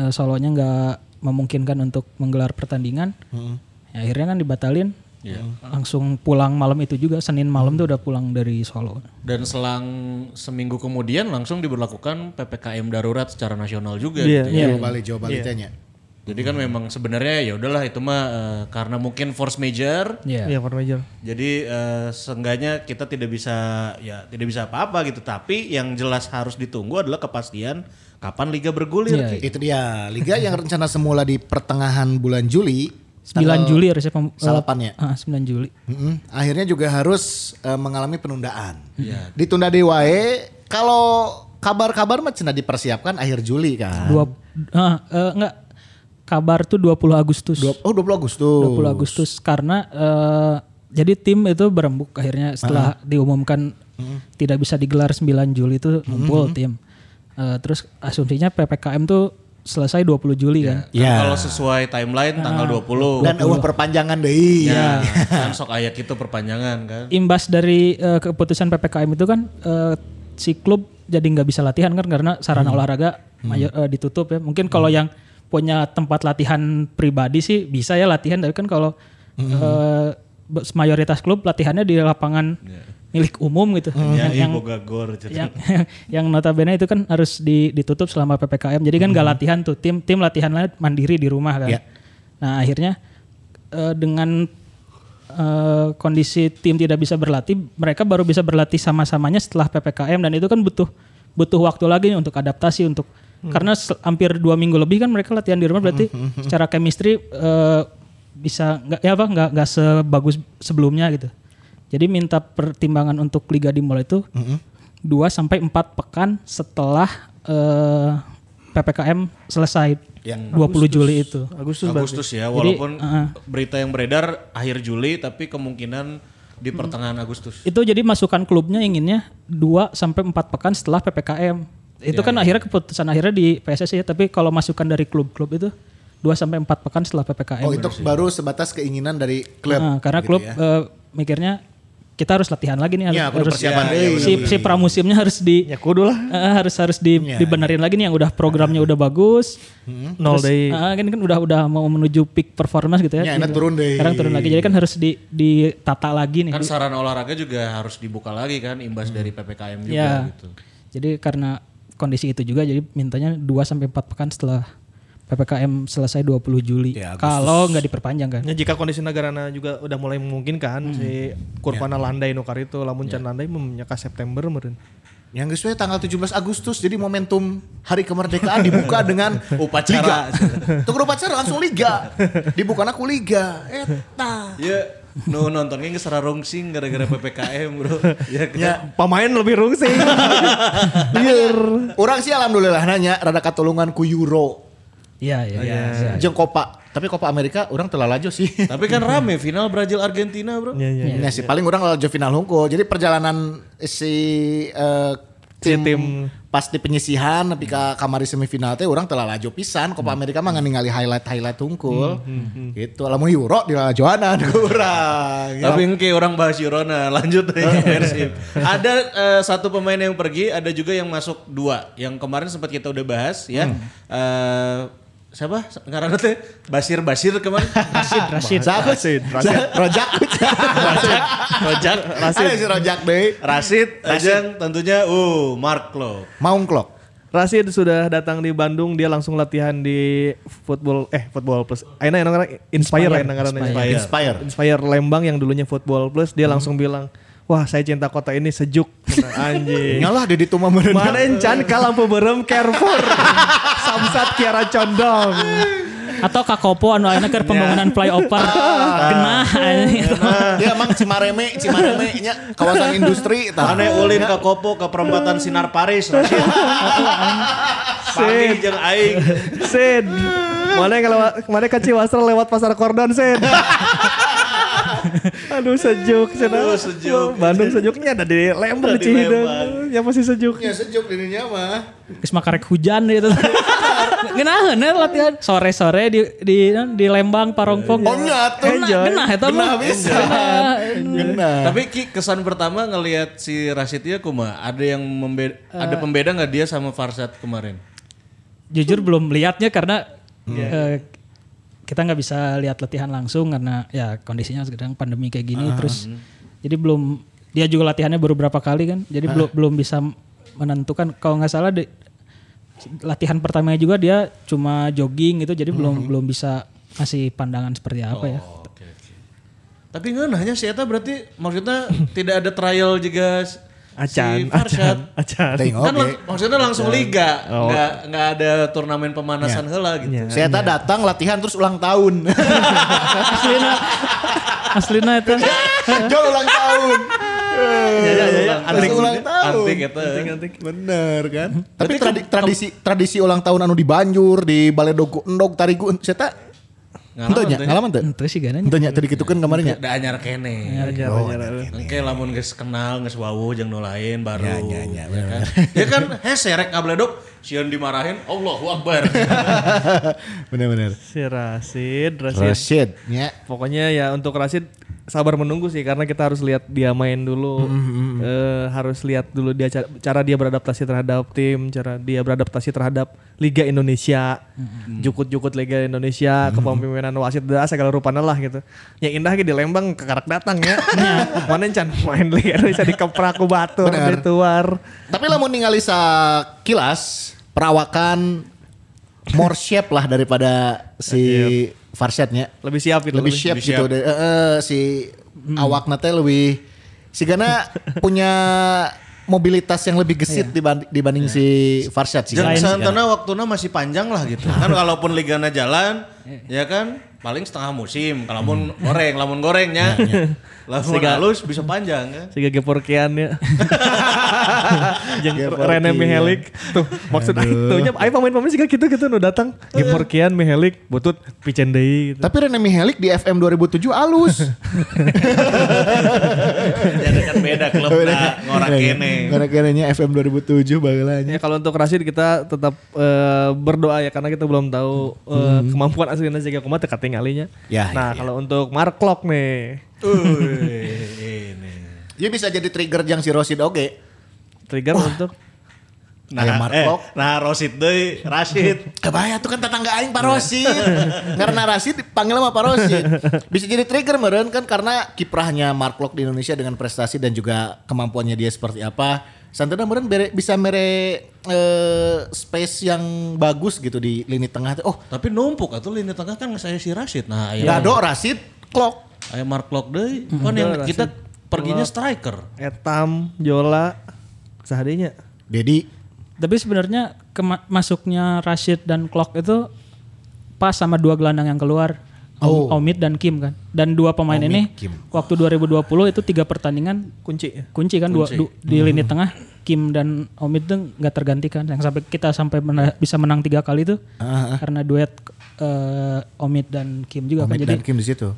[SPEAKER 5] eh, solonya nggak memungkinkan untuk menggelar pertandingan. Ya, akhirnya kan dibatalin. Langsung pulang malam itu juga Senin malam tuh udah pulang dari Solo.
[SPEAKER 2] Dan selang seminggu kemudian langsung diberlakukan PPKM darurat secara nasional juga
[SPEAKER 5] Iya,
[SPEAKER 2] gitu. ya.
[SPEAKER 3] Jawa Bali Jawa Bali tanya.
[SPEAKER 2] Jadi kan memang sebenarnya ya udahlah itu mah eh, karena mungkin force major
[SPEAKER 5] Iya.
[SPEAKER 4] Iya, for major.
[SPEAKER 2] Jadi eh, seenggaknya kita tidak bisa ya tidak bisa apa-apa gitu. Tapi yang jelas harus ditunggu adalah kepastian kapan liga bergulir.
[SPEAKER 5] Iya,
[SPEAKER 2] Ki.
[SPEAKER 3] Itu dia liga yang rencana semula di pertengahan bulan Juli
[SPEAKER 5] 9 Juli harusnya pem-
[SPEAKER 3] salapannya.
[SPEAKER 5] Ah, 9 Juli.
[SPEAKER 3] Mm-mm. Akhirnya juga harus eh, mengalami penundaan.
[SPEAKER 2] Iya.
[SPEAKER 3] Ditunda di wae kalau kabar-kabar mah cenah dipersiapkan akhir Juli kan.
[SPEAKER 5] Dua ah, eh, enggak kabar tuh 20 Agustus.
[SPEAKER 3] Oh 20 Agustus.
[SPEAKER 5] 20 Agustus karena eh, jadi tim itu berembuk
[SPEAKER 3] Ah.
[SPEAKER 5] akhirnya setelah diumumkan tidak bisa digelar 9 Juli itu ngumpul tim. Eh, terus asumsinya PPKM tuh selesai 20 Juli kan.
[SPEAKER 2] Kan
[SPEAKER 3] Iya.
[SPEAKER 2] Kalau sesuai timeline tanggal
[SPEAKER 5] Nah.
[SPEAKER 2] 20.
[SPEAKER 3] Dan eueuh perpanjangan deui.
[SPEAKER 4] Iya.
[SPEAKER 2] ya,
[SPEAKER 4] [LAUGHS]
[SPEAKER 2] kan sok ayat itu perpanjangan kan.
[SPEAKER 5] imbas dari eh, keputusan ppkm itu kan eh, si klub jadi nggak bisa latihan kan karena sarana olahraga mayo- eh, ditutup ya mungkin kalau yang punya tempat latihan pribadi sih bisa ya latihan tapi kan kalau eh, be- mayoritas klub latihannya di lapangan milik umum gitu
[SPEAKER 2] Ya,
[SPEAKER 5] yang, yang-
[SPEAKER 2] boga gor. gitu.
[SPEAKER 5] yang [LAUGHS] yang notabene itu kan harus di- ditutup selama ppkm jadi kan nggak latihan tuh tim tim latihan lain mandiri di rumah kan nah akhirnya eh, dengan eh, kondisi tim tidak bisa berlatih mereka baru bisa berlatih sama-samanya setelah ppkm dan itu kan butuh butuh waktu lagi untuk adaptasi untuk karena se- hampir dua minggu lebih kan mereka latihan di rumah berarti secara chemistry eh, bisa nggak ya apa nggak nggak sebagus sebelumnya gitu jadi minta pertimbangan untuk liga dimulai itu 2 sampai 4 pekan setelah eh, PPKM selesai
[SPEAKER 3] Ya,
[SPEAKER 5] 20 Juli itu.
[SPEAKER 4] Agustus berarti.
[SPEAKER 2] Agustus ya, walaupun berita yang beredar akhir Juli tapi kemungkinan di pertengahan Agustus.
[SPEAKER 5] Itu jadi masukan klubnya inginnya 2 sampai 4 pekan setelah PPKM.
[SPEAKER 3] Ya,
[SPEAKER 5] Itu kan akhirnya keputusan akhirnya di PSSI ya, tapi kalau masukan dari klub-klub itu 2 sampai 4 pekan setelah PPKM.
[SPEAKER 3] Oh itu gitu baru sebatas keinginan dari
[SPEAKER 2] Iya.
[SPEAKER 3] klub.
[SPEAKER 5] Nah, karena klub eh, mikirnya kita harus latihan lagi nih harus,
[SPEAKER 3] Iya, kudu
[SPEAKER 5] harus-
[SPEAKER 3] persiapan gitu.
[SPEAKER 5] si-
[SPEAKER 3] deh.
[SPEAKER 5] si, pramusimnya harus di
[SPEAKER 4] Ya kudu lah.
[SPEAKER 5] Eh, harus harus di,
[SPEAKER 3] Iya,
[SPEAKER 5] dibenerin lagi nih yang udah programnya udah bagus.
[SPEAKER 3] Hmm.
[SPEAKER 4] Nol day.
[SPEAKER 5] Ah, kan kan udah udah mau menuju peak performance gitu
[SPEAKER 3] Ya,
[SPEAKER 5] ya.
[SPEAKER 3] enak turun deh.
[SPEAKER 5] Sekarang turun lagi. Jadi kan harus di ditata
[SPEAKER 4] Iya,
[SPEAKER 5] lagi nih.
[SPEAKER 2] Kan sarana olahraga juga harus dibuka lagi kan imbas dari PPKM juga
[SPEAKER 4] Iya.
[SPEAKER 5] ya.
[SPEAKER 2] gitu.
[SPEAKER 5] Jadi karena kondisi itu juga jadi mintanya 2 sampai 4 pekan setelah PPKM selesai 20 Juli.
[SPEAKER 3] Ya, Agustus.
[SPEAKER 5] kalau nggak diperpanjang kan.
[SPEAKER 4] Ya, jika kondisi negarana juga udah mulai memungkinkan si Kurvana Landai Nukar itu lamun can Landai menyeka September meureun.
[SPEAKER 3] Yang geus we tanggal 17 Agustus jadi momentum hari kemerdekaan dibuka dengan
[SPEAKER 2] [LAUGHS] Upacara.
[SPEAKER 3] liga. Tuh upacara langsung liga. Dibuka aku liga. Eta.
[SPEAKER 2] Ya, nu nontonnya nggak rungsing gara-gara PPKM
[SPEAKER 4] [LAUGHS]
[SPEAKER 2] bro. Ya, kan?
[SPEAKER 4] Iya. Pemain lebih rungsing. Iya. Liar.
[SPEAKER 3] Orang sih alhamdulillah nanya rada katulungan ku Euro
[SPEAKER 5] Iya, iya,
[SPEAKER 3] Oh,
[SPEAKER 5] iya.
[SPEAKER 3] jeung Copa. Tapi Copa Amerika orang telah laju sih. [LAUGHS]
[SPEAKER 2] Tapi kan rame final Brazil Argentina bro.
[SPEAKER 4] Ya, ya.
[SPEAKER 3] Ya,
[SPEAKER 5] iya.
[SPEAKER 3] sih paling orang laju final hungkul. Jadi perjalanan si eh,
[SPEAKER 4] Si
[SPEAKER 3] tim,
[SPEAKER 4] tim.
[SPEAKER 3] pas di penyisihan tapi ke
[SPEAKER 5] Hmm.
[SPEAKER 3] kamari semifinal teh orang telah laju pisan Copa Amerika mah ningali highlight-highlight hungkul.
[SPEAKER 5] Hmm,
[SPEAKER 3] Gitu. Lamun Euro di lajoanan ku urang. Ya,
[SPEAKER 2] Tapi engke orang bahas Yurona, [LAUGHS] lanjut aja Persib. Ada eh, satu pemain yang pergi, ada juga yang masuk dua. Yang kemarin sempat kita udah bahas ya. Eh, siapa? Karena teh Basir Basir kemarin.
[SPEAKER 5] Rashid, Rashid.
[SPEAKER 3] Siapa sih? Rojak.
[SPEAKER 2] Rojak, Rojak, Rasid.
[SPEAKER 3] Ada si Rojak deh.
[SPEAKER 2] Rasid, Ajeng tentunya uh Mark Klopp.
[SPEAKER 3] Maung klok.
[SPEAKER 4] Rashid sudah datang di Bandung, dia langsung latihan di football eh football plus. Aina yang ngaran Inspire
[SPEAKER 5] Inspire,
[SPEAKER 4] yang ngaran Inspire. Hmm.
[SPEAKER 5] Inspire.
[SPEAKER 3] Inspire.
[SPEAKER 4] Inspire Lembang yang dulunya football plus, dia langsung bilang, "Wah, saya cinta kota ini sejuk." Kata, Anjing.
[SPEAKER 3] Nyalah Deddy Tuma merenang.
[SPEAKER 4] Mana encan kalampu berem Carrefour. Samsat Kiara Condong.
[SPEAKER 5] Atau Kakopo anu ayeuna
[SPEAKER 3] Iya.
[SPEAKER 5] keur pembangunan flyover.
[SPEAKER 3] Ah.
[SPEAKER 5] Genah. anjing.
[SPEAKER 2] Nah.
[SPEAKER 3] Ya emang Cimareme, Cimareme nya kawasan industri tah.
[SPEAKER 2] Ane ulin ke Kopo ke perempatan Sinar Paris, Rasid. Pagi jeung aing.
[SPEAKER 4] Sid. Mana yang lewat kemarin ke Ciwasra lewat pasar Kordon, Sid. Aduh sejuk, Sid.
[SPEAKER 2] Aduh, sejuk.
[SPEAKER 4] Bandung sejuknya ada di Lembang di
[SPEAKER 2] Ada di
[SPEAKER 4] Cihideng. Ya pasti sejuk.
[SPEAKER 3] Ya sejuk dirinya mah.
[SPEAKER 5] Geus makarek hujan gitu. Genaheun ya latihan sore-sore di di di Lembang Parongpong.
[SPEAKER 3] Oh nya tuh.
[SPEAKER 5] Genah, genah eta mah.
[SPEAKER 3] Genah bisa.
[SPEAKER 5] Genah.
[SPEAKER 3] Genah.
[SPEAKER 2] Tapi Ki, kesan pertama ngelihat si Rashid ya kuma, ada yang membe- ada pembeda nggak dia sama Farsad kemarin?
[SPEAKER 5] jujur belum lihatnya karena
[SPEAKER 3] Iya.
[SPEAKER 5] eh, kita nggak bisa lihat latihan langsung karena ya kondisinya sekarang pandemi kayak gini
[SPEAKER 3] Ah.
[SPEAKER 5] terus jadi belum dia juga latihannya baru berapa kali kan jadi
[SPEAKER 3] Ah.
[SPEAKER 5] belum belum bisa menentukan kalau nggak salah di- latihan pertamanya juga dia cuma jogging gitu jadi belum
[SPEAKER 3] Hmm.
[SPEAKER 5] belum bisa ngasih pandangan seperti apa ya
[SPEAKER 3] Oh.
[SPEAKER 2] Tapi nggak nanya si Eta berarti [LAUGHS] maksudnya tidak ada trial juga s- si
[SPEAKER 4] Acan,
[SPEAKER 2] Farshad.
[SPEAKER 4] acan, acan.
[SPEAKER 3] Tengok
[SPEAKER 2] Kan
[SPEAKER 3] ge.
[SPEAKER 2] lang- maksudnya langsung liga, nggak nggak ada turnamen pemanasan heula gitu.
[SPEAKER 3] Saya tak datang latihan terus ulang
[SPEAKER 2] [LAUGHS]
[SPEAKER 3] tahun.
[SPEAKER 5] aslina aslina
[SPEAKER 3] [LAUGHS]
[SPEAKER 5] itu
[SPEAKER 3] Ya, Jauh ulang tahun.
[SPEAKER 2] Ya, ya, ya,
[SPEAKER 3] Terus ulang tahun.
[SPEAKER 2] Antik ya. gitu. Hmm. eta.
[SPEAKER 3] Bener kan? Tapi tradi- tradisi tradisi ulang tahun anu di Banjur, di Balai Dogo Endog Tarigu saya tak Henteu nya, ngalaman teu?
[SPEAKER 5] itu sih gananya
[SPEAKER 3] Henteu nya tadi gitu kan kemarin [LAUGHS] nya.
[SPEAKER 2] Da anyar kene. Oke, lamun geus kenal, geus wawu jeung nu lain baru. Ya, kan? ya kan, hese rek ngabledok, sieun dimarahin, Allahu [LAUGHS] Akbar.
[SPEAKER 3] Bener-bener.
[SPEAKER 4] Si Rashid, Rashid.
[SPEAKER 3] Rashid. Ya.
[SPEAKER 4] Pokoknya ya untuk Rashid sabar menunggu sih karena kita harus lihat dia main dulu,
[SPEAKER 3] Mm-hmm,
[SPEAKER 4] Eh, harus lihat dulu dia ca- cara dia beradaptasi terhadap tim, cara dia beradaptasi terhadap Liga Indonesia,
[SPEAKER 3] Mm-hmm.
[SPEAKER 4] jukut-jukut Liga Indonesia, kepemimpinan wasit dah segala rupanya lah gitu. Yang indah ge di Lembang kekarak datang ya. Mana encan main Liga Indonesia di Kepraku Batur,
[SPEAKER 3] Benar.
[SPEAKER 4] di Tuar.
[SPEAKER 3] Tapi lamun ningali kilas perawakan more shape lah daripada
[SPEAKER 2] Iya.
[SPEAKER 3] si Farsyadnya.
[SPEAKER 4] Lebih siap gitu.
[SPEAKER 3] Lebih shape gitu. deh. Eh, eh, si
[SPEAKER 2] Hmm.
[SPEAKER 3] awakna teh lebih si Gana punya mobilitas yang lebih gesit dibanding, dibanding si Farsyad sih.
[SPEAKER 2] Iya. Jangan santana waktunya masih panjang lah gitu. Kan kalaupun ligana jalan, ya kan paling setengah musim. Kalaupun goreng, lamun gorengnya. Lamun halus bisa panjang kan.
[SPEAKER 4] Siga [LAUGHS] geporkeannya. Jeung ya. Rene Mihelik. Tuh, maksud aing [LAUGHS] tuhnya aing pemain-pemain siga gitu-gitu gitu, nu datang geporkean Mihelik butut picen deui gitu.
[SPEAKER 3] Tapi Rene Mihelik di FM 2007 alus.
[SPEAKER 2] [LAUGHS] Jadi kan beda [LAUGHS] klub lah, ngorak kene.
[SPEAKER 3] Karena Iya, kenenya FM 2007 bagelanya.
[SPEAKER 4] Ya kalau untuk Rashid kita tetap eh, berdoa ya karena kita belum tahu eh, kemampuan aslinya Siga kumaha teu katingalinya.
[SPEAKER 3] Ya,
[SPEAKER 4] nah, kalau untuk Mark Klok nih
[SPEAKER 2] Uy, ini.
[SPEAKER 3] Ya bisa jadi trigger yang si Rosid oge.
[SPEAKER 4] trigger untuk
[SPEAKER 2] Nah,
[SPEAKER 3] Ayam markok.
[SPEAKER 2] eh, nah Rosid deh, Rashid.
[SPEAKER 3] Kebaya tuh kan tetangga aing Pak
[SPEAKER 5] [LAUGHS]
[SPEAKER 3] Rosid. karena Rasid dipanggil sama Pak Rosid. Bisa jadi trigger meren kan karena kiprahnya Mark Locke di Indonesia dengan prestasi dan juga kemampuannya dia seperti apa. Santana meren bere- bisa mere eh, space yang bagus gitu di lini tengah. tuh. Oh,
[SPEAKER 2] Tapi numpuk atau lini tengah kan saya si Rashid. Nah,
[SPEAKER 5] Iya.
[SPEAKER 3] nggak
[SPEAKER 2] ayam,
[SPEAKER 3] ada Rasid, Clock.
[SPEAKER 2] ayam Mark Lok deh. Kan yang
[SPEAKER 4] Rashid.
[SPEAKER 2] kita perginya striker.
[SPEAKER 4] Etam, Jola, seharinya.
[SPEAKER 3] Dedi
[SPEAKER 5] Tapi sebenarnya kema- masuknya Rashid dan Clock itu pas sama dua gelandang yang keluar. Om- Omid dan Kim kan. Dan dua pemain ini waktu 2020 itu tiga pertandingan
[SPEAKER 4] Kunci ya.
[SPEAKER 5] kunci kan dua du- di lini tengah Kim dan Omid tuh nggak tergantikan yang sampai kita sampai mena- bisa menang tiga kali tuh karena duet eh, Omid dan Kim juga kan
[SPEAKER 3] Omid
[SPEAKER 5] jadi
[SPEAKER 3] dan Kim di situ.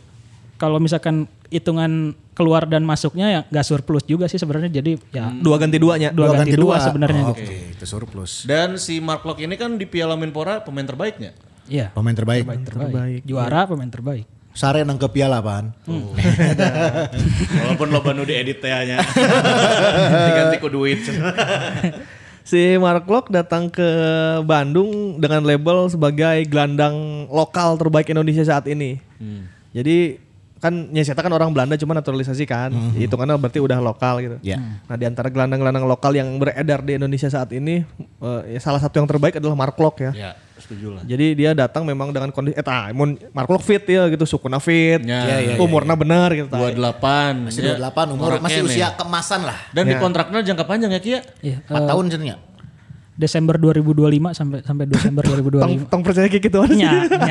[SPEAKER 5] kalau misalkan hitungan keluar dan masuknya ya nggak surplus juga sih sebenarnya jadi ya
[SPEAKER 4] Dua ganti duanya.
[SPEAKER 5] dua, ganti, dua, sebenarnya
[SPEAKER 3] Oh,
[SPEAKER 5] gitu.
[SPEAKER 3] Oke, itu surplus.
[SPEAKER 2] Dan si Mark Lok ini kan di Piala Menpora pemain terbaiknya.
[SPEAKER 5] Iya.
[SPEAKER 3] Pemain terbaik.
[SPEAKER 5] terbaik.
[SPEAKER 2] Iya.
[SPEAKER 5] Juara pemain terbaik.
[SPEAKER 3] Sare nangkep piala, Pan.
[SPEAKER 5] Hmm.
[SPEAKER 2] Walaupun lo banu diedit teh [LAUGHS] nya. Diganti ku duit.
[SPEAKER 4] Si Mark Lok datang ke Bandung dengan label sebagai gelandang lokal terbaik Indonesia saat ini. Jadi kan Nyeseta kan orang Belanda cuma naturalisasi kan. Hitungannya berarti udah lokal gitu.
[SPEAKER 3] Ya.
[SPEAKER 4] Nah di antara gelandang-gelandang lokal yang beredar di Indonesia saat ini eh, ya salah satu yang terbaik adalah Mark Lok ya.
[SPEAKER 2] ya, setuju lah.
[SPEAKER 4] Jadi dia datang memang dengan kondisi eta mun Mark Lok fit ya gitu, sukuna fit.
[SPEAKER 2] Ya, ya, ya,
[SPEAKER 4] umurna benar gitu. tah.
[SPEAKER 2] 28.
[SPEAKER 3] Masih
[SPEAKER 2] ya.
[SPEAKER 3] 28 umur,
[SPEAKER 2] Orang
[SPEAKER 3] masih
[SPEAKER 2] kene.
[SPEAKER 3] usia keemasan lah.
[SPEAKER 2] Dan di kontraknya jangka panjang ya Kia.
[SPEAKER 5] Iya.
[SPEAKER 3] 4 tahun jadinya.
[SPEAKER 5] Desember 2025 sampai sampai Desember
[SPEAKER 4] Tong,
[SPEAKER 5] 2025.
[SPEAKER 4] tong percaya kayak gitu
[SPEAKER 5] [LAUGHS]
[SPEAKER 4] aja.
[SPEAKER 5] Nya,
[SPEAKER 4] [LAUGHS]
[SPEAKER 5] nya.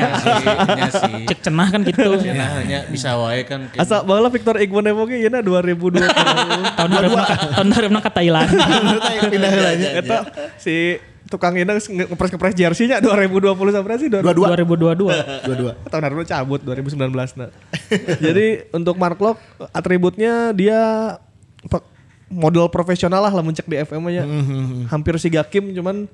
[SPEAKER 2] Iya sih.
[SPEAKER 5] iya, Cek cenah kan gitu.
[SPEAKER 4] Ya.
[SPEAKER 2] Nah, hanya bisa wae kan. kayak-
[SPEAKER 4] Asa baheula Victor iya nah, Igbonevo ge yeuna 2020.
[SPEAKER 5] tahun hareup tahun hareup ke Thailand.
[SPEAKER 3] Pindah lagi.
[SPEAKER 4] Eta si tukang inang ngepres ngepres jersey-nya 2020 sampai sih 2000
[SPEAKER 3] Dua-dua.
[SPEAKER 5] 2022.
[SPEAKER 3] Dua-dua.
[SPEAKER 4] tahun lalu cabut 2019 nah. [LAUGHS] Jadi untuk Mark Lok atributnya dia pe- model profesional lah lah mencek di FM nya Hampir si Gakim cuman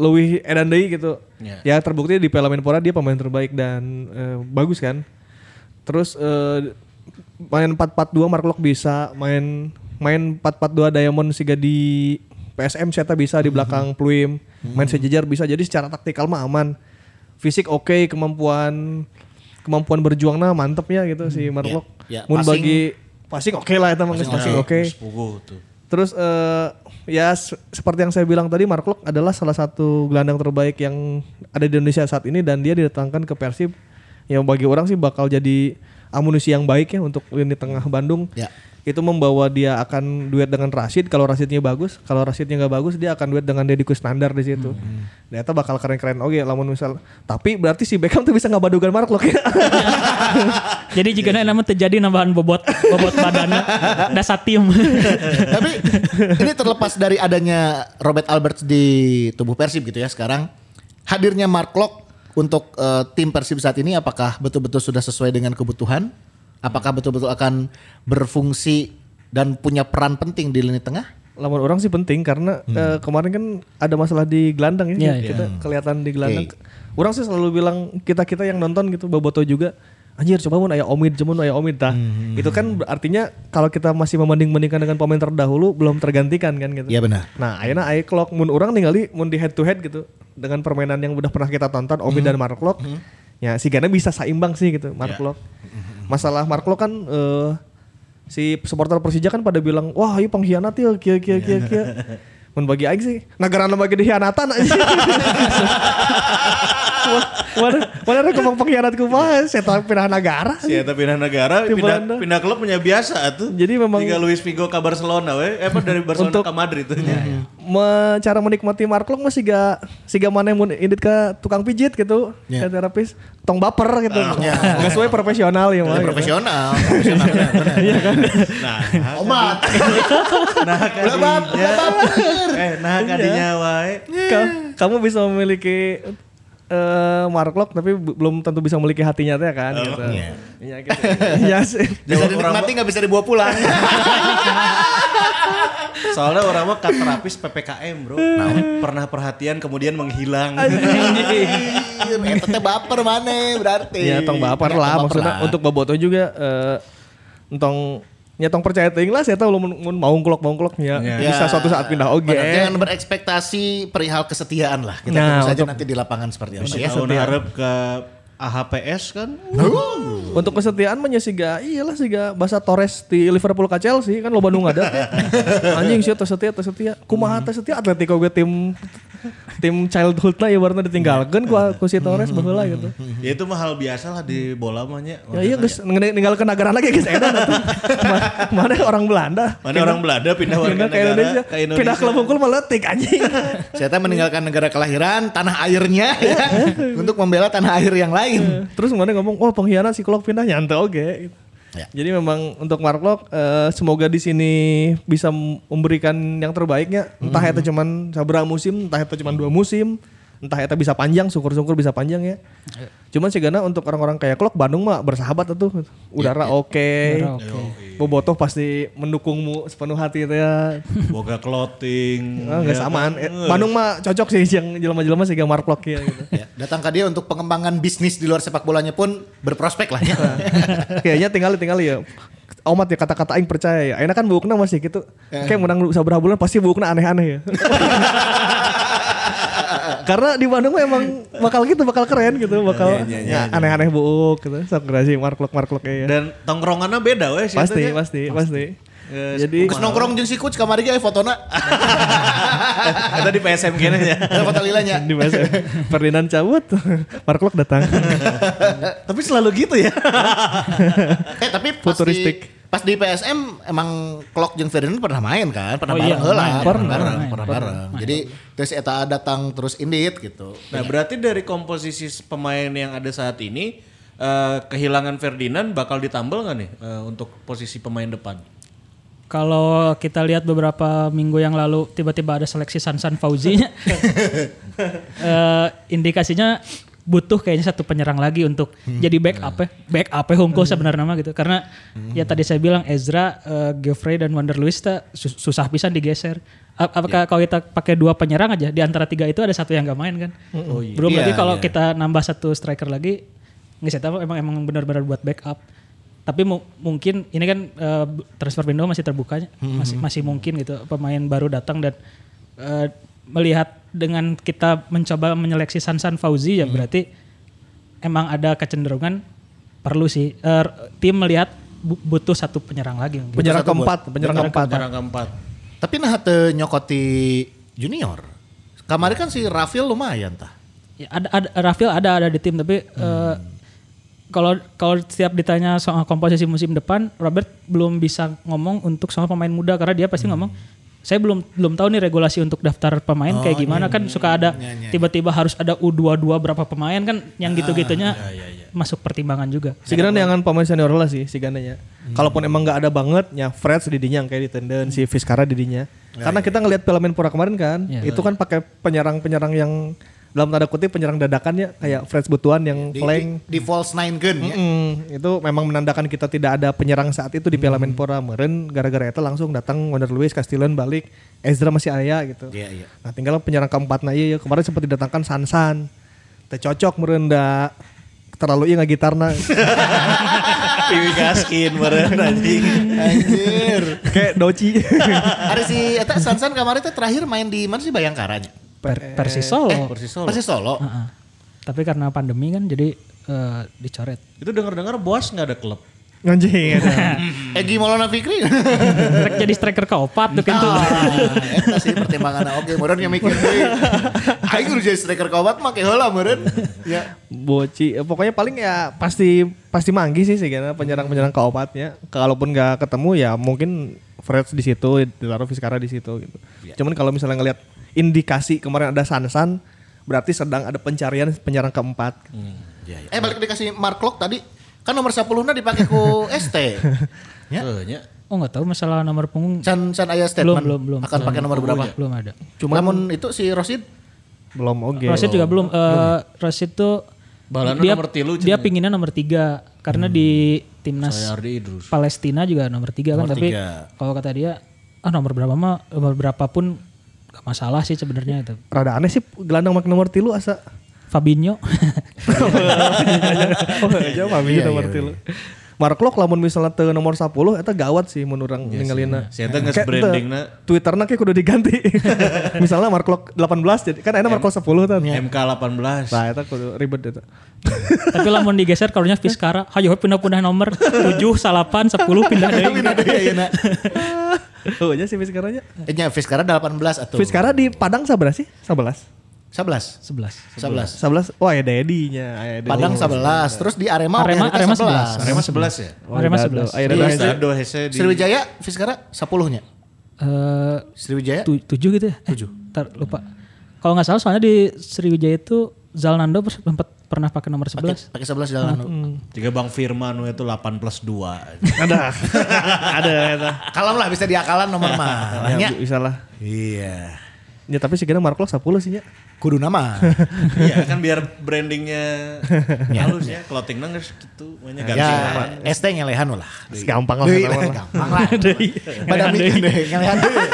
[SPEAKER 4] lebih edan deui gitu. Ya terbukti di Piala Menpora dia pemain terbaik dan eh, bagus kan. Terus eh, main 4-4-2 Mark Lok bisa main main 4-4-2 Diamond siga di PSM Seta bisa di belakang Pluim. Main sejajar bisa jadi secara taktikal mah aman. Fisik oke, kemampuan kemampuan berjuangnya mantepnya gitu si Mark Lok.
[SPEAKER 3] Ya,
[SPEAKER 4] Mun
[SPEAKER 3] passing-
[SPEAKER 4] bagi passing oke lah itu mah passing oke.
[SPEAKER 2] Pugu tuh.
[SPEAKER 4] Terus eh, ya se- seperti yang saya bilang tadi Mark Lok adalah salah satu gelandang terbaik yang ada di Indonesia saat ini dan dia didatangkan ke Persib yang bagi orang sih bakal jadi amunisi yang baik ya untuk lini tengah Bandung.
[SPEAKER 3] Ya.
[SPEAKER 4] Itu membawa dia akan duet dengan Rashid kalau Rashidnya bagus, kalau Rashidnya nggak bagus dia akan duet dengan Deddy Kusnandar di situ. Nah, itu bakal keren-keren oke lamun misal. Tapi berarti si Beckham tuh bisa ngabadugan Mark Lok ya.
[SPEAKER 5] Jadi jika
[SPEAKER 2] Iya,
[SPEAKER 5] nama terjadi nambahan bobot bobot badannya dasar
[SPEAKER 2] [LAUGHS]
[SPEAKER 5] tim.
[SPEAKER 3] Tapi ini terlepas dari adanya Robert Alberts di tubuh Persib gitu ya sekarang. Hadirnya Mark Locke untuk eh, tim Persib saat ini apakah betul-betul sudah sesuai dengan kebutuhan? Apakah betul-betul akan berfungsi dan punya peran penting di lini tengah?
[SPEAKER 4] lawan orang sih penting karena eh, kemarin kan ada masalah di gelandang ya,
[SPEAKER 5] Iya, iya.
[SPEAKER 4] kita kelihatan di gelandang. Orang sih selalu bilang kita kita yang nonton gitu boboto juga anjir coba mun aya Omid cuman aya Omid tah. Itu kan artinya kalau kita masih membanding-bandingkan dengan pemain terdahulu belum tergantikan kan gitu.
[SPEAKER 3] Iya benar.
[SPEAKER 4] Nah, ayeuna aya clock mun orang ningali mun di head to head gitu dengan permainan yang udah pernah kita tonton Omid dan Mark Lok. Ya, si Gana bisa seimbang sih gitu Mark Lok. Masalah Mark Lok kan eh, si supporter Persija kan pada bilang, "Wah, ieu pengkhianat ya, kia kia kia kia." Mun bagi aing sih, negara bagi [LAUGHS] dikhianatan aja. Mana mana ada kemang pengkhianat kumaha, setan pindah negara.
[SPEAKER 2] Si Eta pindah negara,
[SPEAKER 4] Di
[SPEAKER 2] pindah,
[SPEAKER 4] Belanda.
[SPEAKER 2] pindah klub punya biasa tuh.
[SPEAKER 4] Jadi memang-
[SPEAKER 2] Tinggal Luis Figo ke Barcelona we. Eh apa dari Barcelona
[SPEAKER 4] Untuk-
[SPEAKER 2] ke
[SPEAKER 4] Ya,
[SPEAKER 2] Madrid tuh.
[SPEAKER 4] me, cara menikmati marklok masih gak siga mana yang mun indit ke tukang pijit gitu
[SPEAKER 3] Ya.
[SPEAKER 4] ke terapis tong baper gitu nggak sesuai profesional ya
[SPEAKER 3] Ya,
[SPEAKER 4] mah gitu.
[SPEAKER 3] Ah, profesional, profesional. benar.
[SPEAKER 4] [LAUGHS] Iya kan?
[SPEAKER 2] Nah,
[SPEAKER 3] Omat.
[SPEAKER 2] nah kadinya. eh, nah kadinya
[SPEAKER 4] Iya.
[SPEAKER 2] wae.
[SPEAKER 4] Ka- kamu bisa memiliki eh marklok tapi bu- belum tentu bisa memiliki hatinya teh kan gitu
[SPEAKER 3] iya.
[SPEAKER 4] Iya, gitu. Iya sih
[SPEAKER 3] [LAUGHS] Bisa
[SPEAKER 2] Jawab orang
[SPEAKER 3] dinikmati nggak bisa dibawa pulang.
[SPEAKER 2] Soalnya orang mah kat terapis PPKM, Bro.
[SPEAKER 4] Nah.
[SPEAKER 2] pernah perhatian kemudian menghilang.
[SPEAKER 3] [LAUGHS] Anjir, Eta teh Iya, baper mana berarti.
[SPEAKER 4] ya tong baper
[SPEAKER 3] Iya,
[SPEAKER 4] lah
[SPEAKER 3] tong baper
[SPEAKER 4] maksudnya
[SPEAKER 3] lah.
[SPEAKER 4] untuk boboto juga eh entong nya tong percaya teuing lah saya tahu mun mun mau ngulok mau ngulok nya
[SPEAKER 3] Ya,
[SPEAKER 4] bisa suatu saat pindah oge.
[SPEAKER 3] benar. Jangan berekspektasi perihal kesetiaan lah. Kita
[SPEAKER 4] Nah,
[SPEAKER 3] tunggu saja
[SPEAKER 4] untuk-
[SPEAKER 3] nanti di lapangan seperti apa.
[SPEAKER 2] Masih
[SPEAKER 3] Ya.
[SPEAKER 2] tahun harap ke AHPS kan.
[SPEAKER 4] Nah. Untuk kesetiaan mah nya siga iyalah siga bahasa Torres di Liverpool ka Chelsea kan loba nu ngada.
[SPEAKER 2] [LAUGHS]
[SPEAKER 4] Anjing sia teu setia teu setia.
[SPEAKER 2] Hmm.
[SPEAKER 4] Kumaha teu setia Atletico ge tim tim childhood lah ibaratna ditinggalkeun ku ku si Torres baheula gitu.
[SPEAKER 2] ya itu mah hal biasa lah di bola mah nya.
[SPEAKER 4] Ya iya geus ninggalkeun negara lagi geus edan
[SPEAKER 2] [LAUGHS]
[SPEAKER 4] atuh. Ma- Mana orang Belanda.
[SPEAKER 2] Mana orang Belanda pindah warga
[SPEAKER 4] Pindah
[SPEAKER 2] negara
[SPEAKER 4] ke Indonesia.
[SPEAKER 2] ke Indonesia.
[SPEAKER 4] Pindah ke Liverpool malah letik anjing.
[SPEAKER 2] [LAUGHS]
[SPEAKER 3] Saya tahu meninggalkan negara kelahiran, tanah airnya ya, untuk membela tanah air yang
[SPEAKER 4] [LAUGHS]
[SPEAKER 3] lain.
[SPEAKER 4] Terus kemarin ngomong, wah pengkhianat si Klok pindah nyantai oke. gitu.
[SPEAKER 3] Ya.
[SPEAKER 4] Jadi memang untuk Mark Klok eh, semoga di sini bisa m- memberikan yang terbaiknya. Entah itu cuman sabra musim, entah itu cuman dua musim, entah itu bisa panjang, syukur-syukur bisa panjang ya. Cuman sih karena untuk orang-orang kayak Klok Bandung mah bersahabat tuh, udara oke,
[SPEAKER 5] Udara oke.
[SPEAKER 4] Bobotoh pasti mendukungmu sepenuh hati itu ya.
[SPEAKER 2] Boga clothing.
[SPEAKER 4] Ah,
[SPEAKER 2] ya
[SPEAKER 4] Nggak samaan.
[SPEAKER 2] kan?
[SPEAKER 4] Eh, Bandung mah cocok sih yang jelema-jelema sih kayak Mark Klok ya gitu.
[SPEAKER 3] Ya, datang ke dia untuk pengembangan bisnis di luar sepak bolanya pun berprospek lah ya.
[SPEAKER 4] kayaknya tinggal tinggal ya Omat ya kata-kata aing percaya ya. Enak kan bukna masih gitu. Kayak menang sabar bulan pasti bukna aneh-aneh ya. Karena di Bandung mah emang bakal gitu, bakal keren gitu, bakal aneh-aneh buuk gitu. Sok gerasi marklok marklok ya.
[SPEAKER 2] Dan tongkrongannya beda weh sih.
[SPEAKER 4] Pasti,
[SPEAKER 2] itu nya.
[SPEAKER 4] pasti, pasti.
[SPEAKER 2] Eh,
[SPEAKER 4] Jadi
[SPEAKER 3] [LAUGHS] Terus nongkrong jeung si coach kamari ge eh, aya fotona,
[SPEAKER 2] Eta di PSM kene nya.
[SPEAKER 3] [LAUGHS]
[SPEAKER 4] [LAUGHS]
[SPEAKER 3] Ada foto lilanya.
[SPEAKER 4] di masa Ferdinand cabut, [LAUGHS] marklok datang.
[SPEAKER 2] Tapi selalu gitu ya.
[SPEAKER 3] Eh tapi pas
[SPEAKER 4] Futuristik.
[SPEAKER 3] di, pas di PSM emang Klok jeung Ferdinand pernah main kan? Pernah
[SPEAKER 5] Oh iya,
[SPEAKER 3] bareng heula,
[SPEAKER 5] main.
[SPEAKER 3] pernah
[SPEAKER 5] Pernah,
[SPEAKER 3] bareng,
[SPEAKER 5] main,
[SPEAKER 3] pernah
[SPEAKER 5] pernah.
[SPEAKER 3] bareng. Jadi terus eta datang terus indit gitu.
[SPEAKER 2] Nah berarti dari komposisi pemain yang ada saat ini eh, kehilangan Ferdinand bakal ditambal nggak nih eh, untuk posisi pemain depan?
[SPEAKER 5] Kalau kita lihat beberapa minggu yang lalu tiba-tiba ada seleksi Sansan
[SPEAKER 3] [LAUGHS]
[SPEAKER 5] Fauzi-nya. Eh, indikasinya butuh kayaknya satu penyerang lagi untuk
[SPEAKER 3] Hmm.
[SPEAKER 5] jadi backup ya. Backup ya Hongko sebenarnya mah gitu. Karena
[SPEAKER 3] Hmm.
[SPEAKER 5] ya tadi saya bilang Ezra, eh, Geoffrey dan Wander Luis teh sus- susah pisan digeser. A-
[SPEAKER 3] Ya.
[SPEAKER 5] Apakah kalau kita pakai dua penyerang aja di antara tiga itu ada satu yang gak main kan? Belum
[SPEAKER 3] Iya,
[SPEAKER 5] lagi kalau
[SPEAKER 3] iya.
[SPEAKER 5] kita nambah satu striker lagi nggak saya tahu emang emang benar-benar buat backup tapi mu- mungkin ini kan eh, b- transfer window masih terbuka masih masih mungkin gitu pemain baru datang dan eh, melihat dengan kita mencoba menyeleksi Sansan Fauzi ya berarti emang ada kecenderungan perlu sih eh, tim melihat bu- butuh satu penyerang lagi mungkin.
[SPEAKER 4] penyerang keempat, penyerang keempat.
[SPEAKER 2] Orang keempat.
[SPEAKER 3] Tapi nah teu nyokoti junior. Kamari kan si Rafil lumayan tah.
[SPEAKER 5] Ya, ada, ada Rafil ada ada di tim tapi eh, kalau kalau setiap ditanya soal komposisi musim depan Robert belum bisa ngomong untuk soal pemain muda karena dia pasti ngomong saya belum belum tahu nih regulasi untuk daftar pemain kayak gimana kan suka ada tiba-tiba harus ada U22 berapa pemain kan yang gitu-gitunya masuk pertimbangan juga.
[SPEAKER 4] Sigana dengan pemain senior lah sih sigananya. Kalaupun emang nggak ada banget, ya Fred didinya yang kayak di tenden, si Fiskara didinya. Karena kita ngelihat Piala Menpora kemarin kan, itu kan pakai penyerang-penyerang yang dalam tanda kutip penyerang dadakannya kayak Fred Butuan yang
[SPEAKER 3] Ya, Di,
[SPEAKER 4] flank.
[SPEAKER 3] di, di false nine gun ya.
[SPEAKER 4] Mm, itu memang menandakan kita tidak ada penyerang saat itu di Piala Menpora. Meren gara-gara itu langsung datang Wander Luis, Castillan balik, Ezra masih ayah gitu.
[SPEAKER 3] Iya, iya.
[SPEAKER 4] Nah tinggal penyerang keempat nah iya, iya. kemarin sempat didatangkan Sansan. Teh cocok merenda terlalu iya nggak
[SPEAKER 3] [LAUGHS]
[SPEAKER 4] gitarna.
[SPEAKER 2] Piwi Gaskin meren anjing.
[SPEAKER 3] Anjir.
[SPEAKER 4] [LAUGHS] Kayak Doci.
[SPEAKER 3] [LAUGHS] Ada si eta Sansan kamari teh terakhir main di mana sih Bayangkaranya?
[SPEAKER 5] [LAUGHS]
[SPEAKER 4] Eh,
[SPEAKER 5] Per- Persisolo.
[SPEAKER 2] Persis Solo.
[SPEAKER 3] Persis Solo.
[SPEAKER 5] Heeh. ah. Tapi karena pandemi kan jadi eh,
[SPEAKER 4] [LAUGHS]
[SPEAKER 5] dicoret.
[SPEAKER 2] Itu dengar-dengar Boas nggak ada klub.
[SPEAKER 4] Anjing. ada.
[SPEAKER 3] Egi Maulana [LAUGHS] Fikri.
[SPEAKER 5] Trek- jadi striker keopat tuh kan tuh.
[SPEAKER 3] Ah,
[SPEAKER 4] Ah.
[SPEAKER 3] Eta sih pertimbangan nah, oke meureun yang mikir deui. [LAUGHS] Aing kudu jadi striker kawat make heula meureun. [LAUGHS] Ya.
[SPEAKER 4] Boci, Eh, pokoknya paling ya pasti pasti manggih sih sih karena penyerang-penyerang kaopatnya. Kalaupun nggak ketemu ya mungkin Fred di situ, Dilaro Fiskara di situ gitu. Cuman kalau misalnya ngelihat indikasi kemarin ada Sansan, berarti sedang ada pencarian penyerang keempat.
[SPEAKER 3] Eh balik dikasih Mark Klok tadi kan nomor 10-na dipakai ku [LAUGHS] ST. Ya.
[SPEAKER 2] Eh, nya.
[SPEAKER 5] Oh nggak tahu masalah nomor punggung.
[SPEAKER 3] Can can aya
[SPEAKER 5] belum
[SPEAKER 3] statement
[SPEAKER 5] belum belum Oh, iya.
[SPEAKER 3] akan pakai nomor berapa?
[SPEAKER 5] belum ada
[SPEAKER 3] Cuma Namun itu si Rosid
[SPEAKER 4] Belum oke.
[SPEAKER 5] Rosid juga belum eh Rosid tuh
[SPEAKER 2] Balana
[SPEAKER 5] dia
[SPEAKER 2] nomor tilu
[SPEAKER 5] dia pinginnya nomor tiga karena di Hmm. timnas
[SPEAKER 2] Ardi Idrus.
[SPEAKER 5] Palestina juga nomor tiga kan tapi kalau kata dia ah nomor berapa mah nomor berapapun gak masalah sih sebenarnya itu
[SPEAKER 4] Rada aneh sih gelandang make nomor tilu asa.
[SPEAKER 5] Fabinho [LAUGHS]
[SPEAKER 4] iya, oh, aja mami nomor tilu. Mark Klok lamun misalnya teu nomor 10 eta gawat sih mun urang ningalina.
[SPEAKER 2] Iya Si eta geus
[SPEAKER 4] Kayak teu-
[SPEAKER 2] brandingna.
[SPEAKER 4] Twitterna kayak kudu
[SPEAKER 2] [LAUGHS]
[SPEAKER 4] diganti. misalnya Mark Klok 18 jadi kan enak Mark Klok 10 tadi.
[SPEAKER 3] Iya.
[SPEAKER 2] MK 18.
[SPEAKER 4] Nah, eta kudu ribet
[SPEAKER 2] [LAUGHS]
[SPEAKER 4] eta.
[SPEAKER 5] Tapi lamun digeser karunya Fiskara, hayo pindah-pindah nomor 7, salapan, 10 pindah deui. iya,
[SPEAKER 4] Oh, aja sih Fiskaranya.
[SPEAKER 3] Eh, nya Fiskara 18 atau?
[SPEAKER 4] Fiskara di Padang sabra sih? 11.
[SPEAKER 3] 11.
[SPEAKER 5] 11.
[SPEAKER 3] 11.
[SPEAKER 4] 11. Wah, ya Dedinya. Aya Dedi.
[SPEAKER 3] Padang 11, terus di Arema
[SPEAKER 5] Arema-
[SPEAKER 3] Oke, Rita
[SPEAKER 5] Arema Oh, 11.
[SPEAKER 2] Eh, Arema 11 ya?
[SPEAKER 4] Wah,
[SPEAKER 5] Arema
[SPEAKER 4] Oh, Dado.
[SPEAKER 5] 11.
[SPEAKER 3] Iya,
[SPEAKER 4] Aya Dado.
[SPEAKER 2] Terus
[SPEAKER 4] Aya Dado.
[SPEAKER 2] Dado Hese di
[SPEAKER 3] Sriwijaya Fiskara 10-nya.
[SPEAKER 5] Eh
[SPEAKER 3] Sriwijaya
[SPEAKER 5] tu- tujuh gitu ya? Tujuh. Ntar lupa. Kalau nggak salah soalnya di Sriwijaya itu Zalnando pers- sempat pernah pakai nomor 11.
[SPEAKER 3] pakai 11 jalan. anu.
[SPEAKER 5] Hmm.
[SPEAKER 2] [LAUGHS] Jika Bang Firman we itu 8 plus
[SPEAKER 3] [LAUGHS]
[SPEAKER 2] 2.
[SPEAKER 4] Ada. Ada eta.
[SPEAKER 3] Kalem lah bisa diakalan nomor
[SPEAKER 2] [LAUGHS]
[SPEAKER 3] mah.
[SPEAKER 2] Iya,
[SPEAKER 4] Ya,
[SPEAKER 3] Nya.
[SPEAKER 4] bu, bisa lah.
[SPEAKER 3] Iya.
[SPEAKER 4] Ya tapi segera Mark Klok 10 sih ya.
[SPEAKER 3] Kudu nama.
[SPEAKER 2] Iya kan biar
[SPEAKER 3] [LAUGHS]
[SPEAKER 2] brandingnya halus ya. Clothingnya nggak gitu. Banyak
[SPEAKER 3] ya,
[SPEAKER 2] [LAUGHS] ganti.
[SPEAKER 3] ST ngelehan lah.
[SPEAKER 4] Gampang lah.
[SPEAKER 3] Deui
[SPEAKER 4] kata orang.
[SPEAKER 3] gampang
[SPEAKER 5] [LAUGHS]
[SPEAKER 3] lah. Pada mikir deui [LAUGHS] ngelehan deui.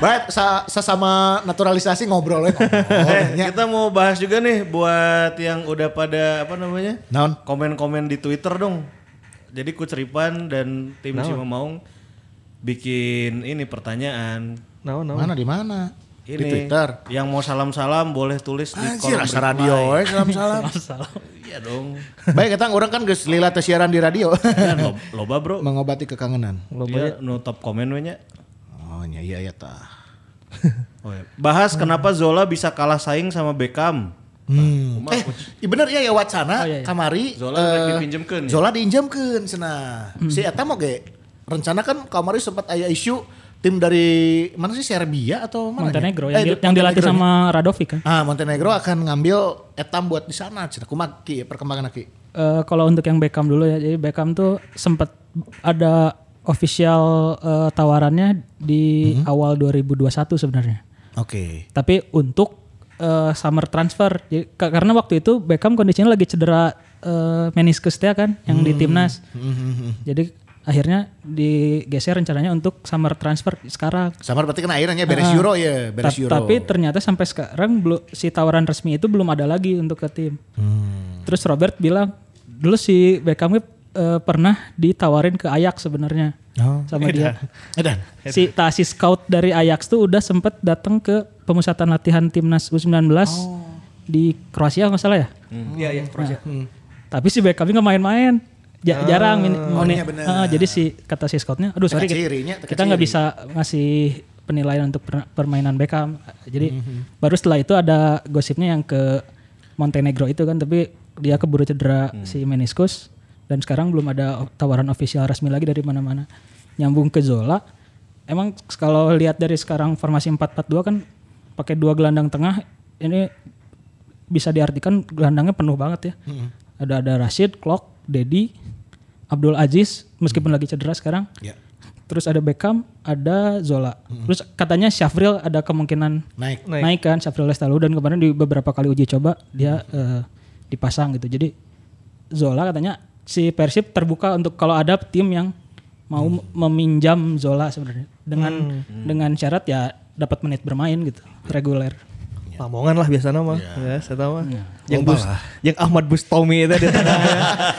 [SPEAKER 3] Baik, sa- sesama naturalisasi ngobrol we
[SPEAKER 2] [LAUGHS]
[SPEAKER 3] ngobrol. Ya.
[SPEAKER 2] Eh,
[SPEAKER 3] Nya.
[SPEAKER 2] kita mau bahas juga nih buat yang udah pada apa namanya?
[SPEAKER 3] Naon?
[SPEAKER 2] Komen-komen di Twitter dong. Jadi Kuceripan dan tim Sima Maung bikin ini pertanyaan.
[SPEAKER 4] Naon naon.
[SPEAKER 3] Mana di mana?
[SPEAKER 2] Ini,
[SPEAKER 3] Di Twitter.
[SPEAKER 2] Yang mau salam-salam boleh tulis di
[SPEAKER 3] Anjir,
[SPEAKER 2] kolom
[SPEAKER 3] asa
[SPEAKER 2] reply.
[SPEAKER 3] radio we
[SPEAKER 5] [LAUGHS]
[SPEAKER 3] salam-salam.
[SPEAKER 2] Iya dong.
[SPEAKER 3] Baik, kita orang kan geus lila teu siaran di radio.
[SPEAKER 2] Kan lo- loba bro.
[SPEAKER 3] Mengobati kekangenan.
[SPEAKER 2] Dia no top komen we nya.
[SPEAKER 3] Oh, nya iya ya tah.
[SPEAKER 2] Oh, iya. Bahas kenapa Zola bisa kalah saing sama Beckham.
[SPEAKER 3] Hmm. Eh, iya bener ya ya wacana
[SPEAKER 5] Oh, iya, iya.
[SPEAKER 3] kamari
[SPEAKER 2] Zola
[SPEAKER 3] eh,
[SPEAKER 2] rek dipinjemkeun ya?
[SPEAKER 3] Zola diinjemkeun cenah.
[SPEAKER 5] Hmm.
[SPEAKER 3] Si eta mah ge rencana kan kamari sempat aya isu tim dari mana sih Serbia atau mana?
[SPEAKER 5] Montenegro
[SPEAKER 3] ya? Eh,
[SPEAKER 5] yang, di- yang dilatih
[SPEAKER 3] Montenegro-nya.
[SPEAKER 5] sama Radovic kan.
[SPEAKER 3] Ah, Montenegro akan ngambil etam buat di sana cenah. Kumaha ki perkembangan ki?
[SPEAKER 5] Eh, kalau untuk yang Beckham dulu ya, jadi Beckham tuh sempat ada official eh, tawarannya di awal 2021 sebenarnya.
[SPEAKER 3] Oke.
[SPEAKER 5] Tapi untuk eh, summer transfer, Jadi, ka- karena waktu itu Beckham kondisinya lagi cedera eh, meniskus dia kan, yang
[SPEAKER 3] Hmm.
[SPEAKER 5] di timnas. Jadi akhirnya digeser rencananya untuk summer transfer sekarang.
[SPEAKER 3] Sama berarti kan akhirnya beres
[SPEAKER 5] Ah.
[SPEAKER 3] Euro ya, beres
[SPEAKER 5] Ta-
[SPEAKER 3] Euro.
[SPEAKER 5] Tapi ternyata sampai sekarang belum si tawaran resmi itu belum ada lagi untuk ke tim.
[SPEAKER 3] Hmm.
[SPEAKER 5] Terus Robert bilang dulu si Beckham itu, eh, pernah ditawarin ke Ajax sebenarnya
[SPEAKER 3] Oh.
[SPEAKER 5] sama dia.
[SPEAKER 3] Edan.
[SPEAKER 4] Iya.
[SPEAKER 5] Si ta, si scout dari Ajax tuh udah sempet datang ke pemusatan latihan timnas U19 di Kroasia nggak salah ya.
[SPEAKER 4] Iya iya.
[SPEAKER 5] Tapi si Beckham nggak main-main. Ja- jarang ini jadi si kata si scoutnya, aduh sorry gitu." kita-
[SPEAKER 3] Cirinya
[SPEAKER 5] kita nggak bisa ngasih penilaian untuk per- permainan Beckham. Jadi baru setelah itu ada gosipnya yang ke Montenegro itu kan, tapi dia keburu cedera si meniskus dan sekarang belum ada o- tawaran ofisial resmi lagi dari mana-mana. Nyambung ke Zola, emang s- kalau lihat dari sekarang formasi 4-4-2 kan pakai dua gelandang tengah ini bisa diartikan gelandangnya penuh banget ya. Ada ada Rashid, Klok, Dedi, Abdul Aziz meskipun lagi cedera sekarang
[SPEAKER 3] Ya.
[SPEAKER 5] terus ada Beckham, ada Zola. Terus katanya Syafril ada kemungkinan
[SPEAKER 3] Naik.
[SPEAKER 5] naik, kan Syafril Lestalu dan kemarin di beberapa kali uji coba dia eh, dipasang gitu. Jadi Zola katanya si Persib terbuka untuk kalau ada tim yang mau meminjam Zola sebenarnya dengan dengan syarat ya dapat menit bermain gitu reguler.
[SPEAKER 3] Ya.
[SPEAKER 4] Lamongan lah biasanya mah. Ya, saya tahu mah. Yang Bus, yang Ahmad Bustomi itu di tengah.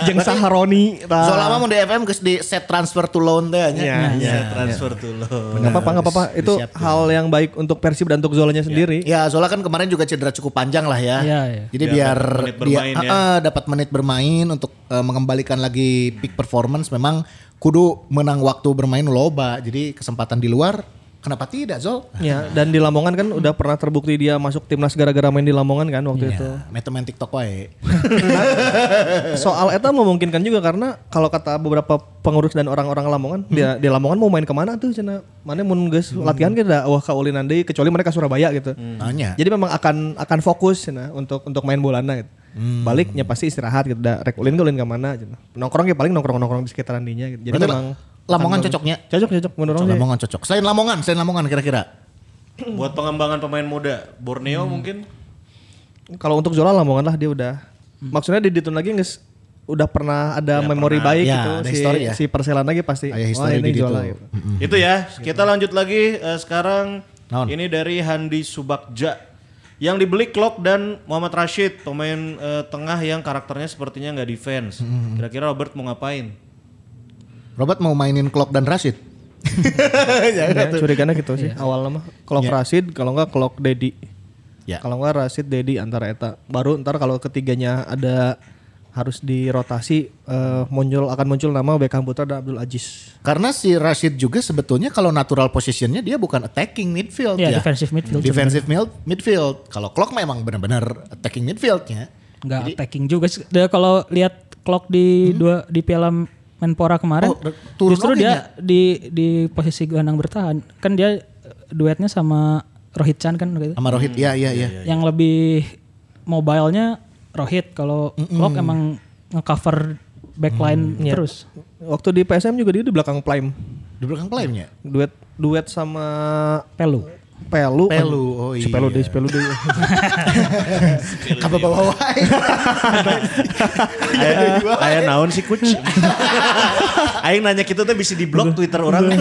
[SPEAKER 4] yang Saharoni. tah.
[SPEAKER 3] Zola mah mun di FM geus di set transfer to loan teh Nah, iya. nya.
[SPEAKER 4] Ya, ya.
[SPEAKER 2] Saya transfer tuh lo.
[SPEAKER 4] Gak apa-apa, gak apa-apa. Itu hal yang baik untuk Persib dan untuk Zolanya sendiri.
[SPEAKER 3] Ya, soalnya kan kemarin juga cedera cukup panjang lah ya.
[SPEAKER 5] Iya, iya.
[SPEAKER 3] Jadi biar,
[SPEAKER 2] Biar dapat menit
[SPEAKER 3] dia
[SPEAKER 2] bermain ya.
[SPEAKER 3] Ah, ah, dapat menit bermain untuk eh, mengembalikan lagi peak performance memang kudu menang waktu bermain loba. Jadi kesempatan di luar kenapa tidak, Zol?
[SPEAKER 4] Ya, dan di Lamongan kan udah pernah terbukti dia masuk timnas gara-gara main di Lamongan kan waktu itu.
[SPEAKER 3] Ya, matematik TikTok wae.
[SPEAKER 4] [LAUGHS] Soal eta memungkinkan juga karena kalau kata beberapa pengurus dan orang-orang Lamongan,
[SPEAKER 3] Hmm.
[SPEAKER 4] dia di Lamongan mau main kemana tuh cina? Mana mun geus latihan kita wah kaulinan deui kecuali mereka Surabaya gitu.
[SPEAKER 3] Hmm. Nanya.
[SPEAKER 4] Jadi memang akan akan fokus cina untuk untuk main bolana gitu.
[SPEAKER 3] Hmm.
[SPEAKER 4] Baliknya pasti istirahat gitu. Da, rek ulin ke ulin ke mana cina. Nongkrong ya paling nongkrong-nongkrong di sekitaran dinya gitu. Jadi
[SPEAKER 3] Berarti
[SPEAKER 4] memang
[SPEAKER 3] Lamongan cocoknya.
[SPEAKER 4] cocok ya. cocok menurut orang sih.
[SPEAKER 3] Lamongan cocok. Selain Lamongan, selain Lamongan kira-kira.
[SPEAKER 2] Buat pengembangan pemain muda,
[SPEAKER 3] Hmm.
[SPEAKER 2] Borneo mungkin.
[SPEAKER 4] Kalau untuk Zola Lamongan lah dia udah.
[SPEAKER 3] Hmm.
[SPEAKER 4] Maksudnya di Ditun lagi nggak udah pernah ada memori baik
[SPEAKER 3] Ya,
[SPEAKER 4] gitu
[SPEAKER 3] ada
[SPEAKER 4] si
[SPEAKER 3] histori ya.
[SPEAKER 4] si Perselan lagi pasti.
[SPEAKER 3] Ada histori di Ditun.
[SPEAKER 4] gitu.
[SPEAKER 2] Itu ya. Kita lanjut lagi eh, sekarang.
[SPEAKER 3] Gitu. Naon?
[SPEAKER 2] Ini dari Handi Subakja. Yang dibeli Klok dan Muhammad Rashid, pemain eh, tengah yang karakternya sepertinya nggak defense. Kira-kira Robert mau ngapain?
[SPEAKER 3] Robert mau mainin Klopp dan Rashid. Iya,
[SPEAKER 4] Ya, curiganya gitu sih awalnya mah. Kalau Rashid, kalau enggak Klok Dedi.
[SPEAKER 3] Ya.
[SPEAKER 4] Kalau enggak Rashid Dedi antara eta. Baru ntar kalau ketiganya ada harus dirotasi eh, muncul akan muncul nama Beckham Putra dan Abdul Aziz.
[SPEAKER 3] Karena si Rashid juga sebetulnya kalau natural positionnya dia bukan attacking midfield
[SPEAKER 5] Iya,
[SPEAKER 3] ya.
[SPEAKER 5] defensive midfield
[SPEAKER 3] Defensive mil- midfield. Kalau Klopp memang benar-benar attacking midfieldnya.
[SPEAKER 5] nggak attacking juga. sih. Dia kalau lihat clock di dua di Piala Menpora kemarin,
[SPEAKER 3] Hmm? Oh, da- turun
[SPEAKER 5] justru
[SPEAKER 3] lagi
[SPEAKER 5] dia di di posisi gelandang bertahan. Kan dia eh, duetnya sama Rohit Chan kan gitu.
[SPEAKER 3] Sama Rohit, ya, ya, ya.
[SPEAKER 5] Yang lebih mobilenya Rohit kalau clock emang ngecover backline
[SPEAKER 3] Iya.
[SPEAKER 5] terus.
[SPEAKER 4] Waktu di PSM juga dia di belakang Prime.
[SPEAKER 3] Di belakang klaimnya.
[SPEAKER 4] Duet duet sama
[SPEAKER 5] Pelu.
[SPEAKER 4] Pelu.
[SPEAKER 3] Pelu, oh
[SPEAKER 4] Si Pelu
[SPEAKER 3] iya.
[SPEAKER 4] deh, si Pelu
[SPEAKER 3] [LAUGHS]
[SPEAKER 4] deh.
[SPEAKER 5] Iya,
[SPEAKER 3] Kabar bawa wae.
[SPEAKER 5] [LAUGHS]
[SPEAKER 2] Aya, aya naon sih coach? [LAUGHS] Aing nanya kita tuh bisa di blog Twitter orang.
[SPEAKER 4] Em,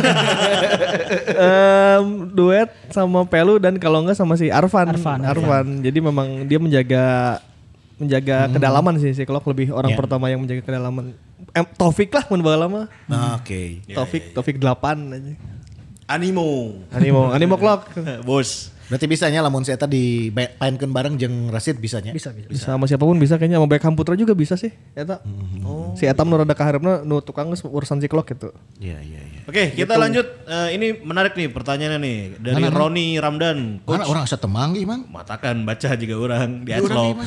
[SPEAKER 4] duet sama Pelu dan kalau enggak sama si Arvan.
[SPEAKER 5] Arfan.
[SPEAKER 4] Jadi memang dia menjaga menjaga kedalaman sih si Klok lebih orang pertama yang menjaga kedalaman. Em, Taufik lah mun baheula mah.
[SPEAKER 3] Nah, Oke.
[SPEAKER 4] Taufik Taufik 8 aja.
[SPEAKER 2] [LAUGHS] Animo.
[SPEAKER 4] Animo, animo Klok.
[SPEAKER 2] Bos.
[SPEAKER 3] Berarti bisanya lamun si eta di painkeun bareng jeung Rashid bisanya.
[SPEAKER 5] Bisa bisa.
[SPEAKER 4] Bisa sama siapapun bisa kayaknya sama Beckham Putra juga bisa sih. Eta. Si Eta menurut ada kaharepna nu tukang geus urusan si Klok gitu.
[SPEAKER 3] Iya, iya, iya.
[SPEAKER 2] Oke, kita lanjut. Eh, ini menarik nih pertanyaannya nih dari Roni Ramdan. Coach,
[SPEAKER 3] Mana orang asa temang ih, Mang?
[SPEAKER 2] matakan baca juga orang di Adslog.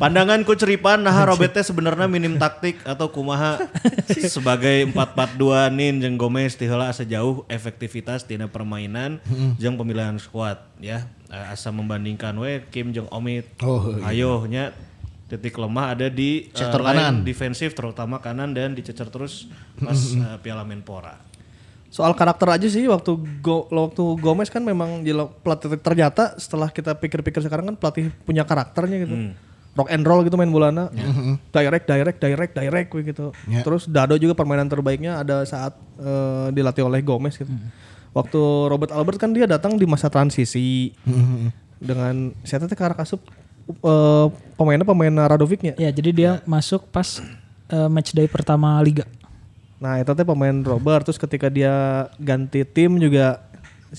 [SPEAKER 2] Pandangan coach Ripan
[SPEAKER 3] [LAUGHS]
[SPEAKER 2] nah Robetnya sebenarnya minim taktik atau kumaha sebagai 4-4-2 nin jeung Gomez tiheula asa jauh efektivitas tina permainan jeung pemilihan squad ya. Eh, Asa membandingkan we Kim jeung Omid.
[SPEAKER 3] Oh,
[SPEAKER 2] Ayo nya titik lemah ada di eh,
[SPEAKER 3] Sektor
[SPEAKER 2] line
[SPEAKER 3] kanan.
[SPEAKER 2] defensif terutama kanan dan dicecer terus pas eh, Piala Menpora.
[SPEAKER 4] Soal karakter aja sih waktu go, waktu Gomez kan memang jelo- pelatih ternyata setelah kita pikir-pikir sekarang kan pelatih punya karakternya gitu. Rock and roll gitu main bolana. Direct direct direct direct gitu.
[SPEAKER 3] Ya.
[SPEAKER 4] Terus Dado juga permainan terbaiknya ada saat eh, dilatih oleh Gomez gitu. Waktu Robert Albert kan dia datang di masa transisi. Dengan saya tadi karak asup eh, pemainnya pemain Radovicnya.
[SPEAKER 5] Ya, jadi dia
[SPEAKER 3] Iya.
[SPEAKER 5] masuk pas eh, match day pertama liga.
[SPEAKER 3] [LAUGHS]
[SPEAKER 4] Nah itu teh pemain Robert terus ketika dia ganti tim juga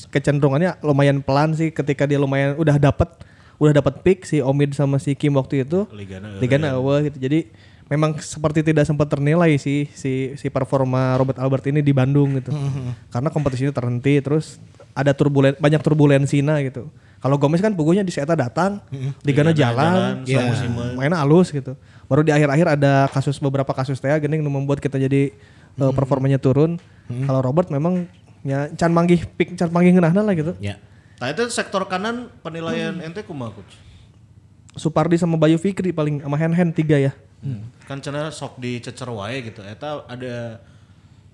[SPEAKER 4] kecenderungannya lumayan pelan sih ketika dia lumayan udah dapat udah dapat pick si Omid sama si Kim waktu itu
[SPEAKER 2] Ligana
[SPEAKER 4] Liga Nawa gitu jadi memang seperti tidak sempat ternilai sih si si performa Robert Albert ini di Bandung [LAUGHS] gitu karena kompetisinya terhenti terus ada turbulen banyak turbulensinya gitu kalau Gomez kan pugunya di Seta datang Ligana Hmm. jalan,
[SPEAKER 2] jalan,
[SPEAKER 4] ya, mainnya halus gitu baru di akhir-akhir ada kasus beberapa kasus teh gening nu membuat kita jadi uh, performanya turun kalau Robert memang ya can manggih pik can manggih ngeunahna lah gitu
[SPEAKER 3] Ya.
[SPEAKER 2] Nah itu sektor kanan penilaian ente kumaha coach?
[SPEAKER 4] Supardi sama Bayu Fikri paling sama Hen Hen tiga ya
[SPEAKER 2] Kan cenah sok dicecer wae gitu. Eta ada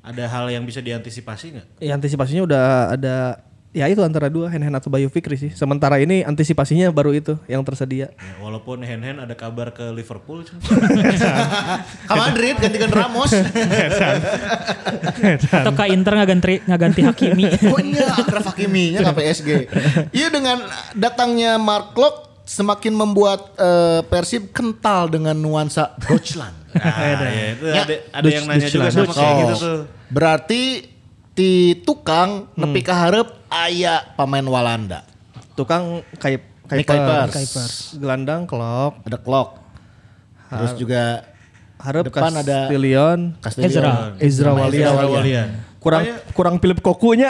[SPEAKER 2] ada hal yang bisa diantisipasi nggak?
[SPEAKER 4] Ya, antisipasinya udah ada ya itu antara dua Hen Hen atau Bayu Fikri sih. Sementara ini antisipasinya baru itu yang tersedia.
[SPEAKER 2] Ya, walaupun hand hand ada kabar ke Liverpool. cuman.
[SPEAKER 3] Ka Madrid Ah, gantikan
[SPEAKER 5] [LAUGHS]
[SPEAKER 3] Ramos.
[SPEAKER 5] Atau ke Inter nggak ganti nggak ganti Hakimi.
[SPEAKER 3] [LAUGHS] Oh iya, Akraf Hakiminya ke
[SPEAKER 5] [LAUGHS]
[SPEAKER 3] PSG. Iya dengan datangnya Mark Klok semakin membuat eh, Persib kental dengan nuansa Deutschland.
[SPEAKER 5] [LAUGHS]
[SPEAKER 2] Nah, ya, itu ada, ada yang nanya juga
[SPEAKER 3] Deutschland.
[SPEAKER 2] sama kayak gitu
[SPEAKER 3] Oh,
[SPEAKER 2] tuh. Hmm.
[SPEAKER 3] Berarti di tukang nepi kaharep aya pemain Walanda.
[SPEAKER 4] Tukang kayak
[SPEAKER 3] Nick
[SPEAKER 4] Kuipers.
[SPEAKER 3] Kuipers.
[SPEAKER 4] gelandang klok,
[SPEAKER 3] Ada Klok. Terus juga
[SPEAKER 4] harap
[SPEAKER 3] Depan ada-
[SPEAKER 4] Castillion,
[SPEAKER 5] Eh,
[SPEAKER 3] Castellion.
[SPEAKER 4] Ezra
[SPEAKER 3] Sama
[SPEAKER 4] Walian.
[SPEAKER 2] Ezra Walian.
[SPEAKER 4] kurang kurang Philip Kokunya.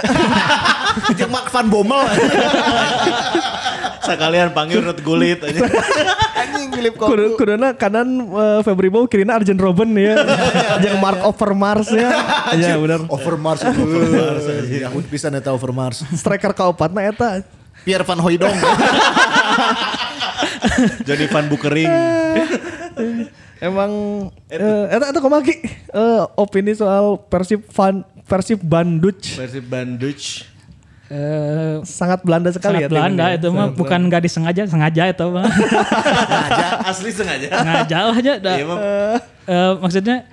[SPEAKER 3] [LAUGHS] Jeung Mark Van
[SPEAKER 2] [LAUGHS]
[SPEAKER 3] Bommel.
[SPEAKER 2] Sekalian panggil Ruth Gullit aja.
[SPEAKER 3] Anjing Philip Koku.
[SPEAKER 4] Kudu, kuduna kanan eh, Febri Bow, kirina Arjen Robben [LAUGHS] ya. Yang Mark Overmars [LAUGHS] ya. Ya benar.
[SPEAKER 3] Overmars. Overmars. Aku bisa neta Overmars.
[SPEAKER 4] Striker kaopatna eta.
[SPEAKER 3] Pierre Van Hooijdonk.
[SPEAKER 2] Jadi Van Bukering.
[SPEAKER 4] Emang eh eta eta komaki. Eh, opini soal Persib fan Persib Banduc.
[SPEAKER 2] Versi Banduc.
[SPEAKER 5] Eh,
[SPEAKER 4] sangat Belanda sekali ya.
[SPEAKER 5] sangat
[SPEAKER 4] timnya.
[SPEAKER 5] Belanda itu mah
[SPEAKER 4] Sangat
[SPEAKER 5] bukan nggak disengaja, sengaja itu mah.
[SPEAKER 3] [LAUGHS]
[SPEAKER 2] Sengaja, asli sengaja.
[SPEAKER 5] sengaja lah aja. dah.
[SPEAKER 2] Iya, Mam.
[SPEAKER 5] Eh, maksudnya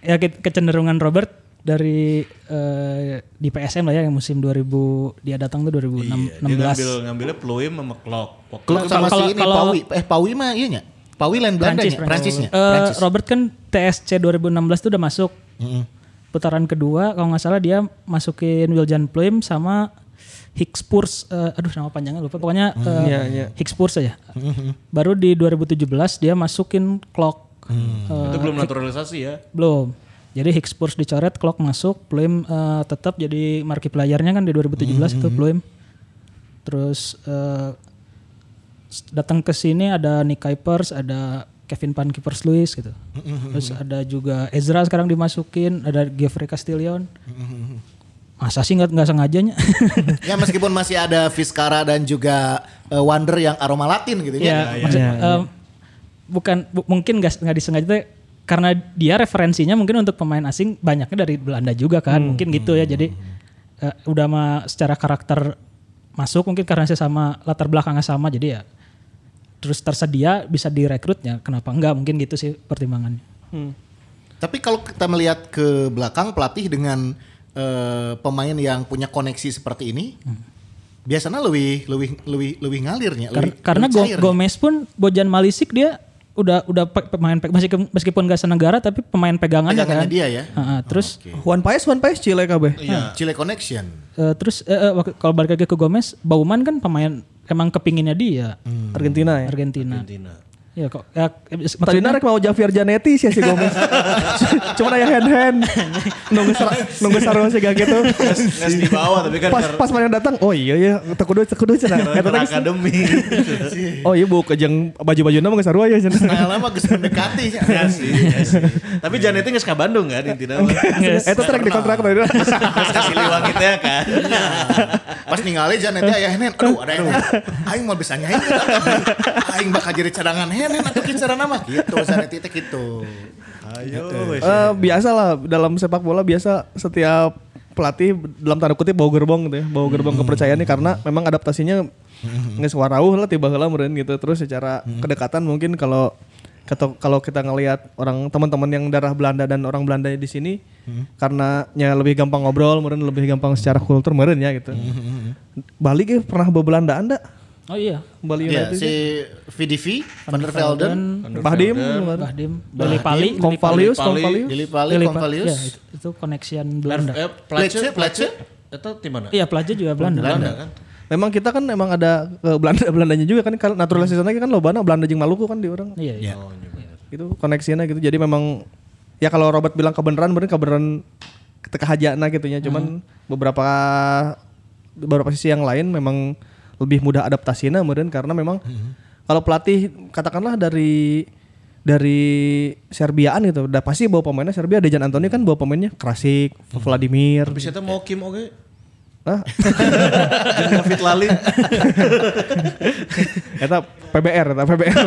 [SPEAKER 5] ya ke- kecenderungan Robert dari eh, di PSM lah ya yang musim 2000 dia datang tuh 2016.
[SPEAKER 2] Iya, Dia ngambil ngambilnya Pluim sama Klok.
[SPEAKER 3] Klok sama
[SPEAKER 5] Kalau-
[SPEAKER 3] si ini
[SPEAKER 5] kalau-
[SPEAKER 3] Pawi. Eh Pawi mah iya nya. Pawi lain Belanda
[SPEAKER 5] Prancis, Eh.
[SPEAKER 3] nya,
[SPEAKER 5] Prancis.
[SPEAKER 3] Prancisnya.
[SPEAKER 5] Eh, Robert kan TSC 2016 tuh udah masuk. putaran kedua kalau nggak salah dia masukin Wiljan Pluim sama Hicks Purs eh, aduh nama panjangnya lupa pokoknya eh,
[SPEAKER 4] Iya, iya.
[SPEAKER 5] Hicks Purs aja. Baru di 2017 dia masukin Clock. Eh,
[SPEAKER 2] Itu belum naturalisasi ya.
[SPEAKER 5] belum. Jadi Hicks Spurs dicoret, Clock masuk, Pluim eh, tetap jadi marki pelajarnya kan di 2017 itu Pluim. Terus eh, s- datang ke sini ada Nick Kuipers, ada Kevin Pan Kuipers Lewis gitu. Terus ada juga Ezra sekarang dimasukin, ada Geoffrey Castillion. Masa sih nggak nggak [LAUGHS] sengajanya?
[SPEAKER 3] Ya meskipun masih ada Fiskara dan juga eh, Wonder yang aroma Latin gitu
[SPEAKER 5] ya,
[SPEAKER 3] ya.
[SPEAKER 5] maksud- em, bukan bu- mungkin nggak nggak disengaja teh, karena dia referensinya mungkin untuk pemain asing banyaknya dari Belanda juga kan
[SPEAKER 3] Hmm,
[SPEAKER 5] mungkin gitu ya jadi eh, udah mah secara karakter masuk mungkin karena saya sama latar belakangnya sama jadi ya terus tersedia bisa direkrutnya kenapa enggak mungkin gitu sih pertimbangannya
[SPEAKER 3] Tapi kalau kita melihat ke belakang pelatih dengan eh, pemain yang punya koneksi seperti ini, biasanya lebih lebih lebih lebih ngalirnya.
[SPEAKER 5] Kar-
[SPEAKER 3] lebih-
[SPEAKER 5] karena
[SPEAKER 3] lebih
[SPEAKER 5] Go-
[SPEAKER 3] cair. ya?
[SPEAKER 5] Gomez pun Bojan Malisik dia udah udah pe- pemain pe- meskipun meskipun gak senegara tapi pemain pegangannya,
[SPEAKER 3] pegangannya
[SPEAKER 5] kan
[SPEAKER 3] dia ya.
[SPEAKER 5] Heeh, terus
[SPEAKER 4] Juan Paes, Juan Paes Chile kabeh.
[SPEAKER 3] Chile Connection.
[SPEAKER 5] Eh, terus eh, eh, wak- kalau balik lagi ke Gomez, Bauman kan pemain emang kepinginnya dia
[SPEAKER 4] Argentina ya.
[SPEAKER 5] Argentina.
[SPEAKER 2] Argentina.
[SPEAKER 5] Ya kok ya, eh,
[SPEAKER 4] Tadi
[SPEAKER 5] maksudnya
[SPEAKER 4] narik mau Javier Janetti sih si [LAUGHS] Gomez. Cuman aya hand hand. Nunggu sar nunggu sarung sih gak gitu.
[SPEAKER 2] Nges di bawah tapi kan
[SPEAKER 4] Pas pas mana yang datang, oh iya iya, tekudu tekudu cenah. Eta
[SPEAKER 2] karena
[SPEAKER 4] teh geus-
[SPEAKER 2] akademi.
[SPEAKER 4] Oh iya bu kejeng baju-baju nama sarua ya cenah.
[SPEAKER 3] Nah, lama geus mendekati.
[SPEAKER 2] Ya sih, ya sih. Tapi Janetnya nggak suka Bandung kan intinya.
[SPEAKER 4] Eta trek Eh, di kontrak tadi.
[SPEAKER 2] Terus kasih liwang gitu ya kan.
[SPEAKER 3] Pas ningali jan nanti aya henen. Aduh, ada henen. Aing mau bisa nyanyi. Aing bakal jadi cadangan henen atau carana mah gitu. Jan nanti teh gitu.
[SPEAKER 2] Ayo. wes.
[SPEAKER 4] Eh biasa lah dalam sepak bola biasa setiap pelatih dalam tanda kutip bau gerbong gitu ya bau gerbong kepercayaannya karena memang adaptasinya nggak suarauh lah tiba heula meureun gitu terus secara kedekatan mungkin kalau kata- kalau kita ngelihat orang teman-teman yang darah Belanda dan orang Belanda di sini karena ya lebih gampang ngobrol meureun lebih gampang secara kultur meureun ya gitu Bali ge pernah be Belanda anda
[SPEAKER 5] Oh iya,
[SPEAKER 4] Bali
[SPEAKER 3] Ya,
[SPEAKER 4] United
[SPEAKER 3] si VDV, Van der Velden,
[SPEAKER 4] Bahdim
[SPEAKER 5] Bahdim, Bali Pali, Lili
[SPEAKER 4] Konvalius Konvalius
[SPEAKER 3] Lili
[SPEAKER 5] Pali,
[SPEAKER 3] Pali,
[SPEAKER 5] Lili Pali. Ya,
[SPEAKER 3] Konvalius.
[SPEAKER 5] itu, itu connection Belanda.
[SPEAKER 2] Eh,
[SPEAKER 3] Plece,
[SPEAKER 2] Place,
[SPEAKER 3] Plece.
[SPEAKER 2] Itu di mana?
[SPEAKER 5] Iya, pelajar juga Belanda.
[SPEAKER 2] Belanda kan.
[SPEAKER 4] Memang kita kan emang ada eh, Belanda Belandanya juga kan kalau naturalisasi kan lobana Belanda jeung Maluku kan di orang
[SPEAKER 5] Iya, iya.
[SPEAKER 2] Oh,
[SPEAKER 4] itu koneksinya gitu. Jadi memang ya kalau Robert bilang kebenaran berarti kebenaran kehajana gitu ya. Cuman beberapa beberapa sisi yang lain memang lebih mudah adaptasinya meureun karena memang kalau pelatih katakanlah dari dari Serbiaan gitu, udah pasti bawa pemainnya Serbia Dejan Antoni kan bawa pemainnya Krasik, Vladimir.
[SPEAKER 2] Bisa itu mau Kim oke.
[SPEAKER 4] Ah,
[SPEAKER 2] Jeung David Lalin.
[SPEAKER 4] eta PBR, eta
[SPEAKER 3] [LAUGHS] Eh,
[SPEAKER 4] PBR.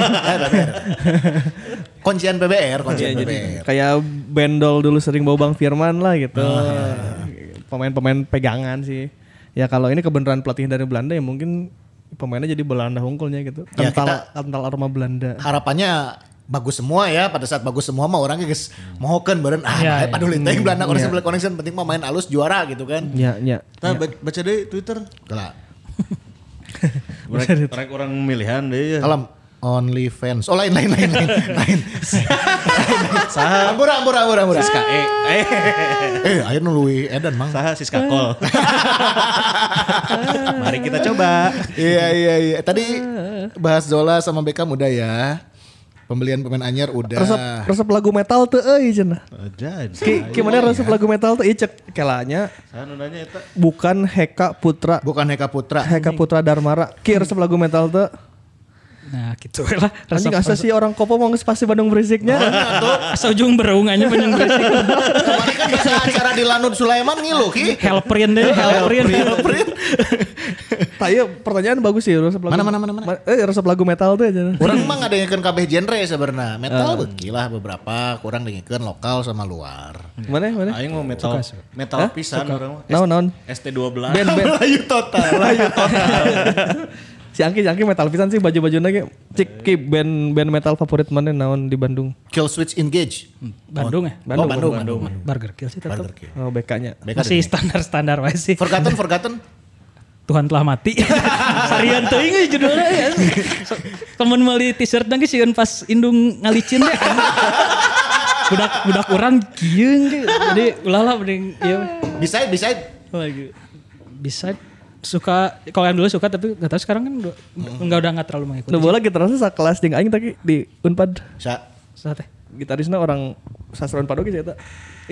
[SPEAKER 3] Kuncian PBR, kuncian
[SPEAKER 4] Iya, jadi
[SPEAKER 3] PBR.
[SPEAKER 4] kayak Bendol dulu sering bawa Bang Firman lah gitu.
[SPEAKER 3] Ah.
[SPEAKER 4] Pemain-pemain pegangan sih. Ya kalau ini kebenaran pelatih dari Belanda ya mungkin pemainnya jadi Belanda hungkulnya gitu.
[SPEAKER 3] Ya,
[SPEAKER 4] Kental
[SPEAKER 3] kita-
[SPEAKER 4] kental aroma Belanda.
[SPEAKER 3] Harapannya bagus semua ya pada saat bagus semua mah orangnya geus mohokeun bareng ah
[SPEAKER 5] Iya, Iya.
[SPEAKER 3] yeah, padahal yeah. Belanda koneksi yeah. koneksi penting mah main alus juara gitu kan.
[SPEAKER 4] Ya, ya.
[SPEAKER 2] Tah ba- baca deh Twitter.
[SPEAKER 3] Kalau
[SPEAKER 2] Rek, rek orang milihan deh ya.
[SPEAKER 3] kalau only fans. Oh lain lain lain lain. lain. Saha ambura ambura ambura ambura.
[SPEAKER 2] Siska E. Eh,
[SPEAKER 3] Eh ayo nului edan mang.
[SPEAKER 2] saha Siska Kol. [LAUGHS] Mari kita coba.
[SPEAKER 3] Iya iya iya. Tadi bahas Zola sama Beckham udah ya. Pembelian pemain anyar udah.
[SPEAKER 4] Resep resep lagu metal tuh euy cenah.
[SPEAKER 2] Ajan.
[SPEAKER 3] Ah,
[SPEAKER 4] Ki- Gimana
[SPEAKER 3] iya.
[SPEAKER 4] resep lagu metal tuh icek kelanya
[SPEAKER 2] Saha nu nanya eta?
[SPEAKER 4] bukan Heka Putra.
[SPEAKER 3] Bukan Heka Putra.
[SPEAKER 4] Heka Putra Darmara. Ki resep lagu metal tuh.
[SPEAKER 5] Nah, gitu lah.
[SPEAKER 4] Anjing asa sih orang kopo mau nges pasti Bandung
[SPEAKER 3] Ah.
[SPEAKER 4] berisiknya.
[SPEAKER 5] Asal ujung berungannya panjang berisik.
[SPEAKER 3] Kemarin kan bisa acara di Lanud Sulaiman ngilu ki.
[SPEAKER 5] Helperin deh, helperin. helperin.
[SPEAKER 4] Tanya iya, pertanyaan bagus sih resep lagu.
[SPEAKER 3] Mana, mana, mana, mana?
[SPEAKER 4] Ma- Eh resep lagu metal tuh cenah.
[SPEAKER 3] Kurang mah ngadengekeun kabeh genre sebenarnya. Metal beuki lah beberapa, kurang dengekeun lokal sama luar.
[SPEAKER 4] Mana mana?
[SPEAKER 2] Aing mau metal metal pisan orang mah.
[SPEAKER 4] Naon naon.
[SPEAKER 2] ST12.
[SPEAKER 4] Ben, ben.
[SPEAKER 2] Melayu total. Melayu total.
[SPEAKER 4] Si Angki, si Angki metal pisan sih baju-baju nage. Cik, ki band band metal favorit mana naon di Bandung?
[SPEAKER 3] Kill Switch Engage.
[SPEAKER 5] Bandung ya?
[SPEAKER 3] Bandung, oh, Bandung, Bandung.
[SPEAKER 5] Burger Kill sih tetap.
[SPEAKER 4] Oh, BK-nya.
[SPEAKER 5] Masih standar-standar wae sih.
[SPEAKER 3] kan Forgotten, Forgotten.
[SPEAKER 5] Tuhan telah mati. Sarian teuing euy judulnya ya. Temen meuli t-shirt nangis sieun pas indung ngalicin deh. ya. budak budak orang kieu anjing. Jadi ulah lah mending ieu.
[SPEAKER 3] Bisa bisa
[SPEAKER 5] lagi bisa suka kalau yang dulu suka tapi nggak tahu sekarang kan udah- nggak udah nggak terlalu mengikuti
[SPEAKER 4] Nu bola gitarisnya sakelas jeung aing tadi di Unpad.
[SPEAKER 3] bisa.
[SPEAKER 5] Sa- teh.
[SPEAKER 4] Gitarisnya orang sastra Unpad oge saya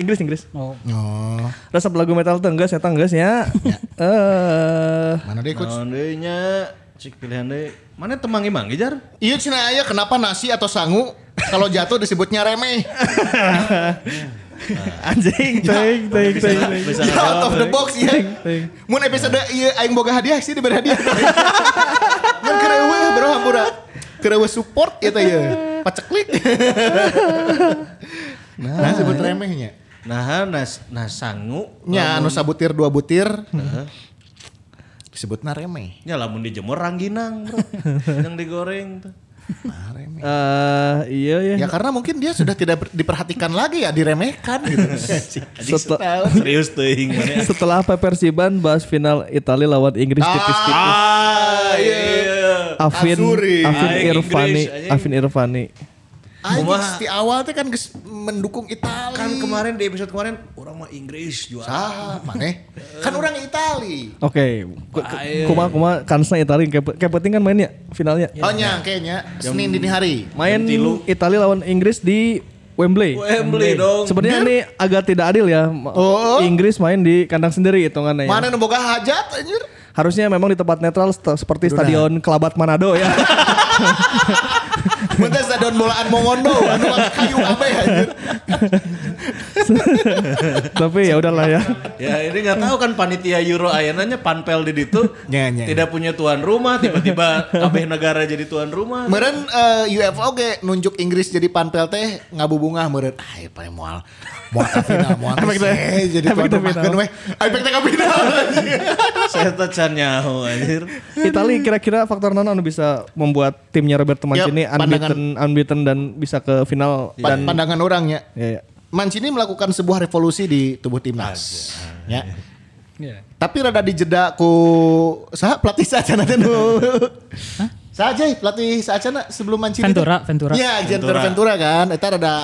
[SPEAKER 4] Inggris Inggris.
[SPEAKER 5] oh
[SPEAKER 3] Oh,
[SPEAKER 4] Resep lagu metal teh enggak saya enggak nya.
[SPEAKER 3] Ya. [LAUGHS]
[SPEAKER 4] Eh
[SPEAKER 3] mana deh coach?
[SPEAKER 2] Naon deui nya? Cik pilihan deui. Mana temangi manggi jar?
[SPEAKER 3] Iya cina aya kenapa nasi atau sangu kalau jatuh disebutnya remeh.
[SPEAKER 4] anjing teuing teuing
[SPEAKER 2] Bisa
[SPEAKER 4] teuing.
[SPEAKER 2] bisa
[SPEAKER 3] ya out
[SPEAKER 2] ngajawab
[SPEAKER 3] of the
[SPEAKER 2] deui.
[SPEAKER 3] box ya. Mun episode iya aing boga hadiah sih diberi hadiah. [LAUGHS] Mun kerewe bro hampura. Kerewe support ya teh ya.
[SPEAKER 2] [LAUGHS]
[SPEAKER 3] Paceklik. nah, sebut remehnya.
[SPEAKER 2] Nah, nas nah sangu
[SPEAKER 3] Nya anu sabutir dua butir. Disebutna remeh.
[SPEAKER 2] nya lamun dijemur rangginang, bro. Yang digoreng tuh.
[SPEAKER 3] Nah, remeh.
[SPEAKER 4] Eh iya ya.
[SPEAKER 3] Ya karena mungkin dia sudah tidak ber- diperhatikan lagi ya diremehkan
[SPEAKER 2] [LAUGHS]
[SPEAKER 3] gitu.
[SPEAKER 2] Anjing,
[SPEAKER 4] Setel-
[SPEAKER 2] Serius teuing mana?
[SPEAKER 4] [LAUGHS] Setelah Persiban bahas final Italia lawan Inggris tipis-tipis.
[SPEAKER 2] Ah, iya.
[SPEAKER 4] Afin,
[SPEAKER 3] Azuri.
[SPEAKER 4] Afin
[SPEAKER 2] Aing
[SPEAKER 4] Irfani,
[SPEAKER 2] Inggris, anjing.
[SPEAKER 4] Afin Irfani.
[SPEAKER 3] Aing
[SPEAKER 2] Kumaha?
[SPEAKER 3] di awal teh kan geus mendukung Itali.
[SPEAKER 2] Kan kemarin di episode kemarin orang mah Inggris juara.
[SPEAKER 3] Saha maneh? Kan orang Itali.
[SPEAKER 4] Oke, kuma kuma kansnya Italia kayak kayak penting kan mainnya finalnya.
[SPEAKER 2] Ya,
[SPEAKER 3] Oh nyang kayaknya Senin dini hari.
[SPEAKER 4] Main
[SPEAKER 2] Jam tilu.
[SPEAKER 4] Italia lawan Inggris di Wembley.
[SPEAKER 2] Wembley Eh, dong.
[SPEAKER 4] Sebenarnya ini agak tidak adil ya. Ma-
[SPEAKER 3] Oh.
[SPEAKER 4] Inggris main di kandang sendiri hitungannya ya.
[SPEAKER 3] Mana nu boga hajat anjir?
[SPEAKER 4] Harusnya memang di tempat netral st- seperti
[SPEAKER 3] Beneran.
[SPEAKER 4] Stadion Kelabat Manado ya.
[SPEAKER 3] Mun teh sadon bolaan mongondo anu mah kayu abe anjir.
[SPEAKER 4] Tapi ya udahlah
[SPEAKER 2] [LAUGHS]
[SPEAKER 4] ya.
[SPEAKER 2] Ya ini nggak tahu kan panitia Euro ayananya panpel di itu
[SPEAKER 3] Nya, nya.
[SPEAKER 2] tidak punya tuan rumah tiba-tiba kabeh negara jadi tuan
[SPEAKER 3] [LAUGHS]
[SPEAKER 2] rumah.
[SPEAKER 3] Meureun eh, UFO ge nunjuk Inggris jadi panpel teh ngabubungah meureun. Ah ieu paling moal. Moal ka final moal. Efek teh jadi
[SPEAKER 4] efek
[SPEAKER 3] tuan
[SPEAKER 4] teh
[SPEAKER 3] rumah
[SPEAKER 4] final.
[SPEAKER 3] kan weh. Ah, Efek teh ka final. anjir.
[SPEAKER 2] Saya tecan nyaho anjir.
[SPEAKER 4] Italia kira-kira faktor nana anu bisa membuat timnya Roberto Mancini
[SPEAKER 3] Ya,
[SPEAKER 4] unbeaten, unbeaten dan bisa ke final
[SPEAKER 3] Pa-
[SPEAKER 4] dan
[SPEAKER 3] Pandangan orangnya.
[SPEAKER 4] ya, ya.
[SPEAKER 3] Mancini melakukan sebuah revolusi di tubuh timnas. Ya.
[SPEAKER 5] iya
[SPEAKER 3] Tapi rada dijeda ku saha pelatih saacana teh nu. Saja pelatih saacana sebelum Mancini. teh.
[SPEAKER 5] Ventura, Ventura.
[SPEAKER 3] Iya, Ventura Ventura kan. Eta rada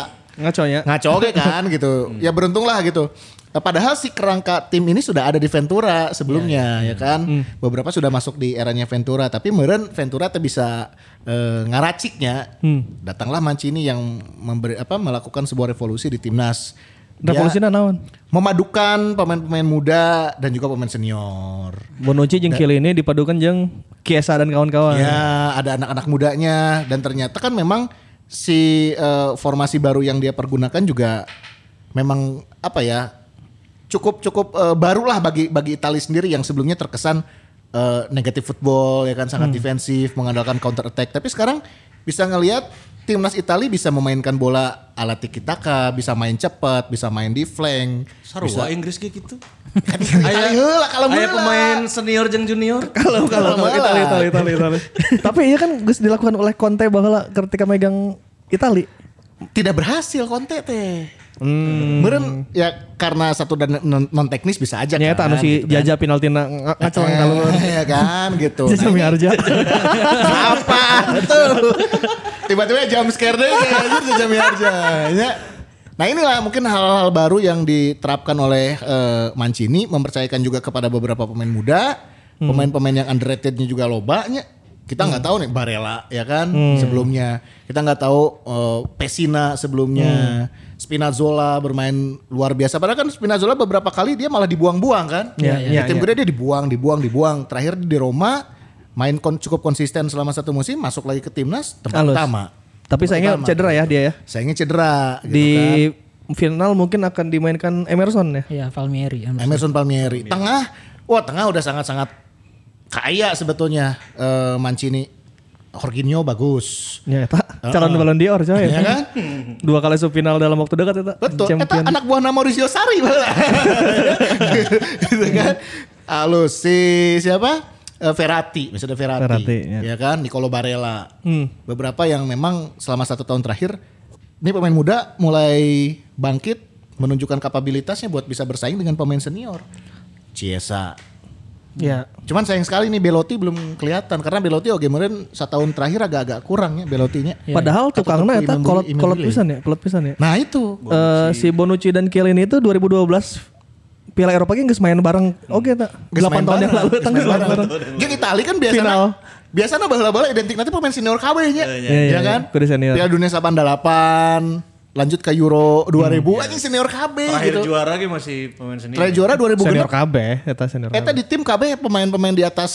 [SPEAKER 4] ngaco ya.
[SPEAKER 3] ngaco ge kan gitu. Ya beruntung lah gitu. Eh, Padahal si kerangka tim ini sudah ada di Ventura sebelumnya ya, kan. Beberapa sudah masuk di eranya Ventura, tapi meureun Ventura teh bisa eh, ngaraciknya. Datanglah Mancini yang memberi apa melakukan sebuah revolusi di timnas. Dia
[SPEAKER 4] Revolusi naon?
[SPEAKER 3] memadukan pemain-pemain muda dan juga pemain senior.
[SPEAKER 4] Bonucci jeung Chiellini dipadukan jeung Chiesa dan kawan-kawan.
[SPEAKER 3] Ya, ada anak-anak mudanya dan ternyata kan memang si eh, formasi baru yang dia pergunakan juga memang apa ya cukup cukup eh, barulah bagi bagi Italia sendiri yang sebelumnya terkesan eh, negatif football ya kan sangat defensif mengandalkan counter attack tapi sekarang bisa ngelihat timnas Italia bisa memainkan bola ala tiki taka bisa main cepat bisa main di flank Kan
[SPEAKER 2] Sarua Inggris kayak gitu.
[SPEAKER 3] Aya heula kalau
[SPEAKER 2] Aya
[SPEAKER 3] meula.
[SPEAKER 2] pemain senior jeung junior.
[SPEAKER 4] Kalau kalau kalau
[SPEAKER 3] Malah.
[SPEAKER 4] Italia Italia Italia. Italia. [LAUGHS] Tapi iya kan geus dilakukan oleh Conte bahwa ketika megang Italia.
[SPEAKER 3] tidak berhasil konten teh.
[SPEAKER 4] Hmm.
[SPEAKER 3] Meureun ya karena satu dan non teknis bisa aja kan.
[SPEAKER 4] Nyata anu si
[SPEAKER 3] gitu kan.
[SPEAKER 4] Jaja penaltina ng- ngacelang kalau
[SPEAKER 3] [LAUGHS] Iya kan
[SPEAKER 4] [LAUGHS]
[SPEAKER 3] gitu.
[SPEAKER 4] Jaja Miharja.
[SPEAKER 3] Apa tuh? Tiba-tiba jam scare deh kayak gitu jam harja. Ya. Nah inilah mungkin hal-hal baru yang diterapkan oleh eh, Mancini mempercayakan juga kepada beberapa pemain muda,
[SPEAKER 4] Hmm.
[SPEAKER 3] pemain-pemain yang underratednya juga lobanya. Kita nggak tahu nih Barella ya kan
[SPEAKER 4] Hmm.
[SPEAKER 3] sebelumnya. Kita nggak tahu eh, Pesina
[SPEAKER 4] Hmm.
[SPEAKER 3] sebelumnya. Spinazzola bermain luar biasa. Padahal kan Spinazzola beberapa kali dia malah dibuang-buang kan.
[SPEAKER 4] Iya,
[SPEAKER 3] Di
[SPEAKER 4] iya,
[SPEAKER 3] tim
[SPEAKER 4] iya.
[SPEAKER 3] gede dia dibuang, dibuang, dibuang. Terakhir di Roma main kon- cukup konsisten selama satu musim, masuk lagi ke timnas
[SPEAKER 4] [LAUGHS]
[SPEAKER 3] tempat
[SPEAKER 4] Halus.
[SPEAKER 3] pertama.
[SPEAKER 4] Tapi sayangnya
[SPEAKER 3] Pertama.
[SPEAKER 4] cedera ya dia ya.
[SPEAKER 3] Sayangnya cedera gitu
[SPEAKER 4] Di
[SPEAKER 3] kan.
[SPEAKER 4] final mungkin akan dimainkan Emerson ya.
[SPEAKER 5] iya Palmieri yang-
[SPEAKER 3] Emerson Palmieri. Tengah, wah tengah udah sangat-sangat kaya sebetulnya eh, Mancini. Jorginho bagus.
[SPEAKER 4] Ya, eta calon Ballon d'Or
[SPEAKER 3] Ah.
[SPEAKER 4] coy.
[SPEAKER 3] Iya kan?
[SPEAKER 4] [LAUGHS] Dua kali semifinal dalam waktu dekat eta.
[SPEAKER 3] Betul. Eta
[SPEAKER 4] Champion.
[SPEAKER 3] anak buah nama Mauricio Sari. gitu kan. Lalu si siapa? Eh, Verratti, misalnya Verratti,
[SPEAKER 4] Verratti, ya.
[SPEAKER 3] ya. kan, Nicolo Barella,
[SPEAKER 4] Hmm.
[SPEAKER 3] beberapa yang memang selama satu tahun terakhir, ini pemain muda mulai bangkit, menunjukkan kapabilitasnya buat bisa bersaing dengan pemain senior. Chiesa,
[SPEAKER 4] Iya,
[SPEAKER 5] Ya,
[SPEAKER 3] Cuman sayang sekali nih Belotti belum kelihatan karena Belotti oke kemarin tahun terakhir agak-agak kurang ya Belottinya.
[SPEAKER 4] iya. Padahal
[SPEAKER 3] Atau
[SPEAKER 4] tukangnya
[SPEAKER 3] Immobile-
[SPEAKER 4] eta kolot
[SPEAKER 3] Immobile.
[SPEAKER 4] kolot pisan ya, kolot pisan ya.
[SPEAKER 3] Nah itu.
[SPEAKER 4] Eh, si Bonucci dan Chiellini itu 2012 Piala Eropa ge geus main bareng. Oke tak? 8 tahun yang lalu tanggal bareng. bareng.
[SPEAKER 3] Jadi Itali kan biasanya
[SPEAKER 4] Final.
[SPEAKER 3] biasanya bala-bala identik nanti pemain senior KB nya.
[SPEAKER 4] iya, iya.
[SPEAKER 3] Ya kan?
[SPEAKER 4] Kudu senior.
[SPEAKER 3] Piala Dunia 88 lanjut ke Euro 2000 anjing senior KB
[SPEAKER 2] Terakhir
[SPEAKER 3] gitu.
[SPEAKER 2] juara lagi masih pemain senior.
[SPEAKER 3] Terakhir juara 2000
[SPEAKER 4] Senior KB eta senior.
[SPEAKER 3] Eta
[SPEAKER 4] KB.
[SPEAKER 3] di Eh, tim KB pemain-pemain di atas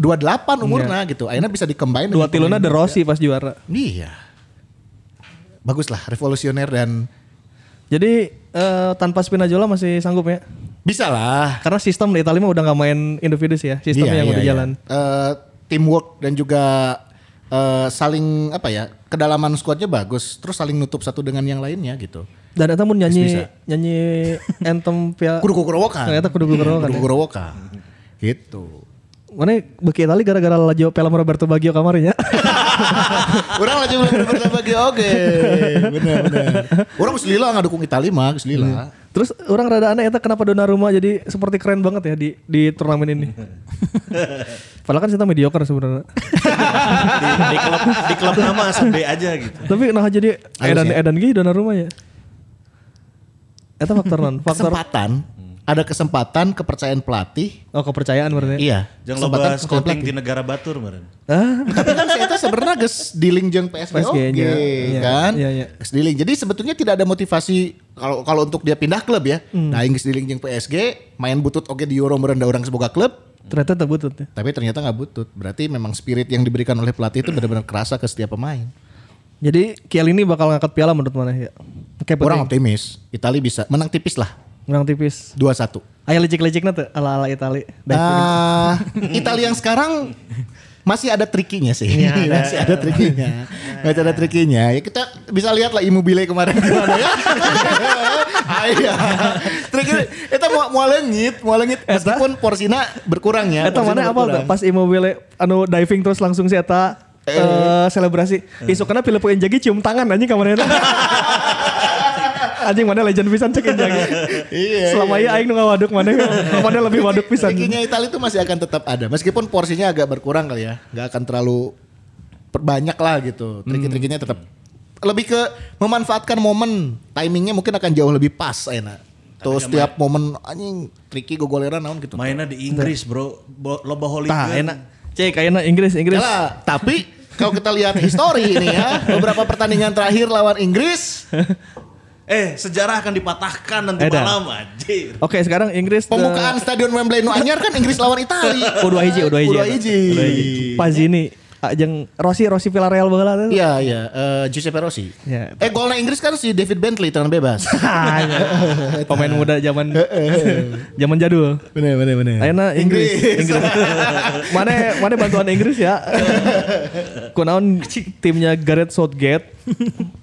[SPEAKER 3] 28 umurnya gitu. Akhirnya bisa dikembangin.
[SPEAKER 4] Iya. Dua
[SPEAKER 3] dengan
[SPEAKER 4] tiluna De Rossi pas juara.
[SPEAKER 3] pemain- Iya. Baguslah revolusioner dan
[SPEAKER 4] Jadi eh, tanpa Spinazzola masih sanggup ya.
[SPEAKER 3] bisa lah.
[SPEAKER 4] Karena sistem di Italia mah udah nggak main individu sih ya, sistemnya yang udah jalan.
[SPEAKER 3] Eh, teamwork dan juga eh, saling apa ya kedalaman squadnya bagus. Terus saling nutup satu dengan yang lainnya gitu.
[SPEAKER 4] Dan eta mun nyanyi
[SPEAKER 3] Bisa.
[SPEAKER 4] [LAUGHS] nyanyi anthem Piala
[SPEAKER 3] Kudu kukurowokan.
[SPEAKER 4] Eh, Ternyata kudu kukurowokan
[SPEAKER 3] Kudu
[SPEAKER 4] ya.
[SPEAKER 3] kukurowokan. Gitu.
[SPEAKER 4] Mana beki Itali gara-gara lajo film Roberto Baggio ya? kamarnya.
[SPEAKER 3] Orang lagi belum bertambah bagi oke. Bener bener. Orang geus lila nggak dukung Itali mah geus
[SPEAKER 4] Iya.
[SPEAKER 3] lila.
[SPEAKER 4] Terus orang rada aneh eta kenapa Donnarumma jadi seperti keren banget ya di di turnamen ini. Padahal kan kita mediocre sebenarnya.
[SPEAKER 2] di, di klub di klub nama asal B aja gitu.
[SPEAKER 4] Tapi nah jadi edan edan gini Donnarumma ya. Eta faktor non, faktor
[SPEAKER 3] Kesempatan. Ada kesempatan kepercayaan pelatih.
[SPEAKER 4] oh kepercayaan berarti.
[SPEAKER 3] Iya.
[SPEAKER 2] Jangan lupa scouting di negara Batur meren.
[SPEAKER 4] Ah,
[SPEAKER 3] Tapi kan si Eta sebenarnya geus dealing jeung PSV oke
[SPEAKER 4] PSG -nya. Iya,
[SPEAKER 3] kan?
[SPEAKER 4] iya, iya.
[SPEAKER 3] Geus dealing. Jadi sebetulnya tidak ada motivasi kalau kalau untuk dia pindah klub ya.
[SPEAKER 4] Hmm.
[SPEAKER 3] Nah, Inggris dealing jeung PSG, main butut oke di Euro merendah orang semoga klub,
[SPEAKER 4] ternyata tebutut ya.
[SPEAKER 3] tapi ternyata nggak butut. Berarti memang spirit yang diberikan oleh pelatih itu benar-benar kerasa ke setiap pemain.
[SPEAKER 4] Jadi Kiel ini bakal ngangkat piala menurut mana ya? Oke,
[SPEAKER 3] Orang
[SPEAKER 4] penting.
[SPEAKER 3] optimis, Itali bisa menang tipis lah,
[SPEAKER 4] Orang tipis.
[SPEAKER 3] 2-1.
[SPEAKER 4] Ayo licik-liciknya tuh ala-ala Itali. Baik,
[SPEAKER 3] Ah, [LAUGHS] Italia yang sekarang masih ada trikinya sih.
[SPEAKER 4] Iya,
[SPEAKER 3] [LAUGHS] masih ada trikinya. Masih ada trikinya. Ya kita bisa lihat lah Immobile kemarin [LAUGHS] gimana ya. Ah, iya. Triknya itu mau mau lengit, mau lengit meskipun porsinya berkurang ya.
[SPEAKER 4] Eta
[SPEAKER 3] porsinya
[SPEAKER 4] mana apa
[SPEAKER 3] berkurang.
[SPEAKER 4] nggak pas Immobile anu diving terus langsung si Eta eh, selebrasi. Isuk karena Filippo Inzaghi cium tangan anjing kamarnya
[SPEAKER 3] [LAUGHS]
[SPEAKER 4] Eta. anjing mana legend pisan cek Inzaghi.
[SPEAKER 3] Iya,
[SPEAKER 4] Selama iya aing nu ngawaduk
[SPEAKER 3] [LAUGHS]
[SPEAKER 4] mana mana lebih waduk pisan.
[SPEAKER 3] Trikinya Italia itu masih akan tetap ada meskipun porsinya agak berkurang kali ya. nggak akan terlalu per- banyak lah gitu. Triki-trikinya tetap lebih ke memanfaatkan momen timingnya mungkin akan jauh lebih pas enak. Tuh setiap momen anjing triki gogoleran naon gitu.
[SPEAKER 2] Mainnya di Inggris bro, Bo- loba hooligan.
[SPEAKER 4] Tah Ah, enak. Cek kayaknya Inggris Inggris.
[SPEAKER 3] Iya. Yalah, tapi kalau kita lihat histori ini ya, beberapa pertandingan terakhir lawan Inggris,
[SPEAKER 2] Eh sejarah akan dipatahkan nanti
[SPEAKER 4] Edan.
[SPEAKER 2] malam anjir.
[SPEAKER 4] Oke sekarang Inggris eh,
[SPEAKER 3] pembukaan Stadion Wembley nu anyar kan Inggris lawan Itali.
[SPEAKER 4] U21, U21.
[SPEAKER 3] U21.
[SPEAKER 4] Pazini ah, jeung Rossi Rossi Villarreal baheula teh.
[SPEAKER 3] Iya iya, eh, Giuseppe Rossi.
[SPEAKER 4] Ya.
[SPEAKER 3] Eh golnya Inggris kan si David Bentley tendangan bebas. [LAUGHS]
[SPEAKER 4] Ah, iya. Pemain muda zaman zaman jadul.
[SPEAKER 3] Eh, bener bener bener.
[SPEAKER 4] Ayeuna Inggris. Inggris.
[SPEAKER 3] [LAUGHS]
[SPEAKER 4] mana mana bantuan Inggris ya. Kunaon timnya Gareth Southgate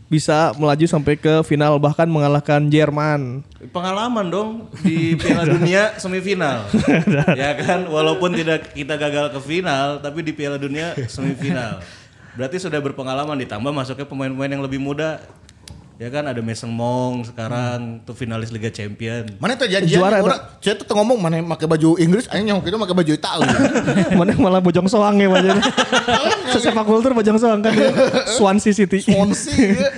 [SPEAKER 4] bisa melaju sampai ke final bahkan mengalahkan
[SPEAKER 3] [LAUGHS]
[SPEAKER 4] Jerman.
[SPEAKER 2] Pengalaman dong di Piala Dunia semifinal. ya kan walaupun tidak kita gagal ke final tapi di Piala Dunia semifinal. Berarti sudah berpengalaman ditambah masuknya pemain-pemain yang lebih muda. Ya kan ada Mason Mong sekarang tuh finalis Liga Champion.
[SPEAKER 3] Mana tuh janjian
[SPEAKER 4] Juara,
[SPEAKER 3] orang, saya tuh ngomong mana yang pakai baju Inggris, aing nyong itu pakai baju
[SPEAKER 4] [LAUGHS]
[SPEAKER 3] Itali.
[SPEAKER 4] mana malah bojong soang ya macam. Sesepak kultur bojong soang kan dia. Swansea City.
[SPEAKER 3] Swansea.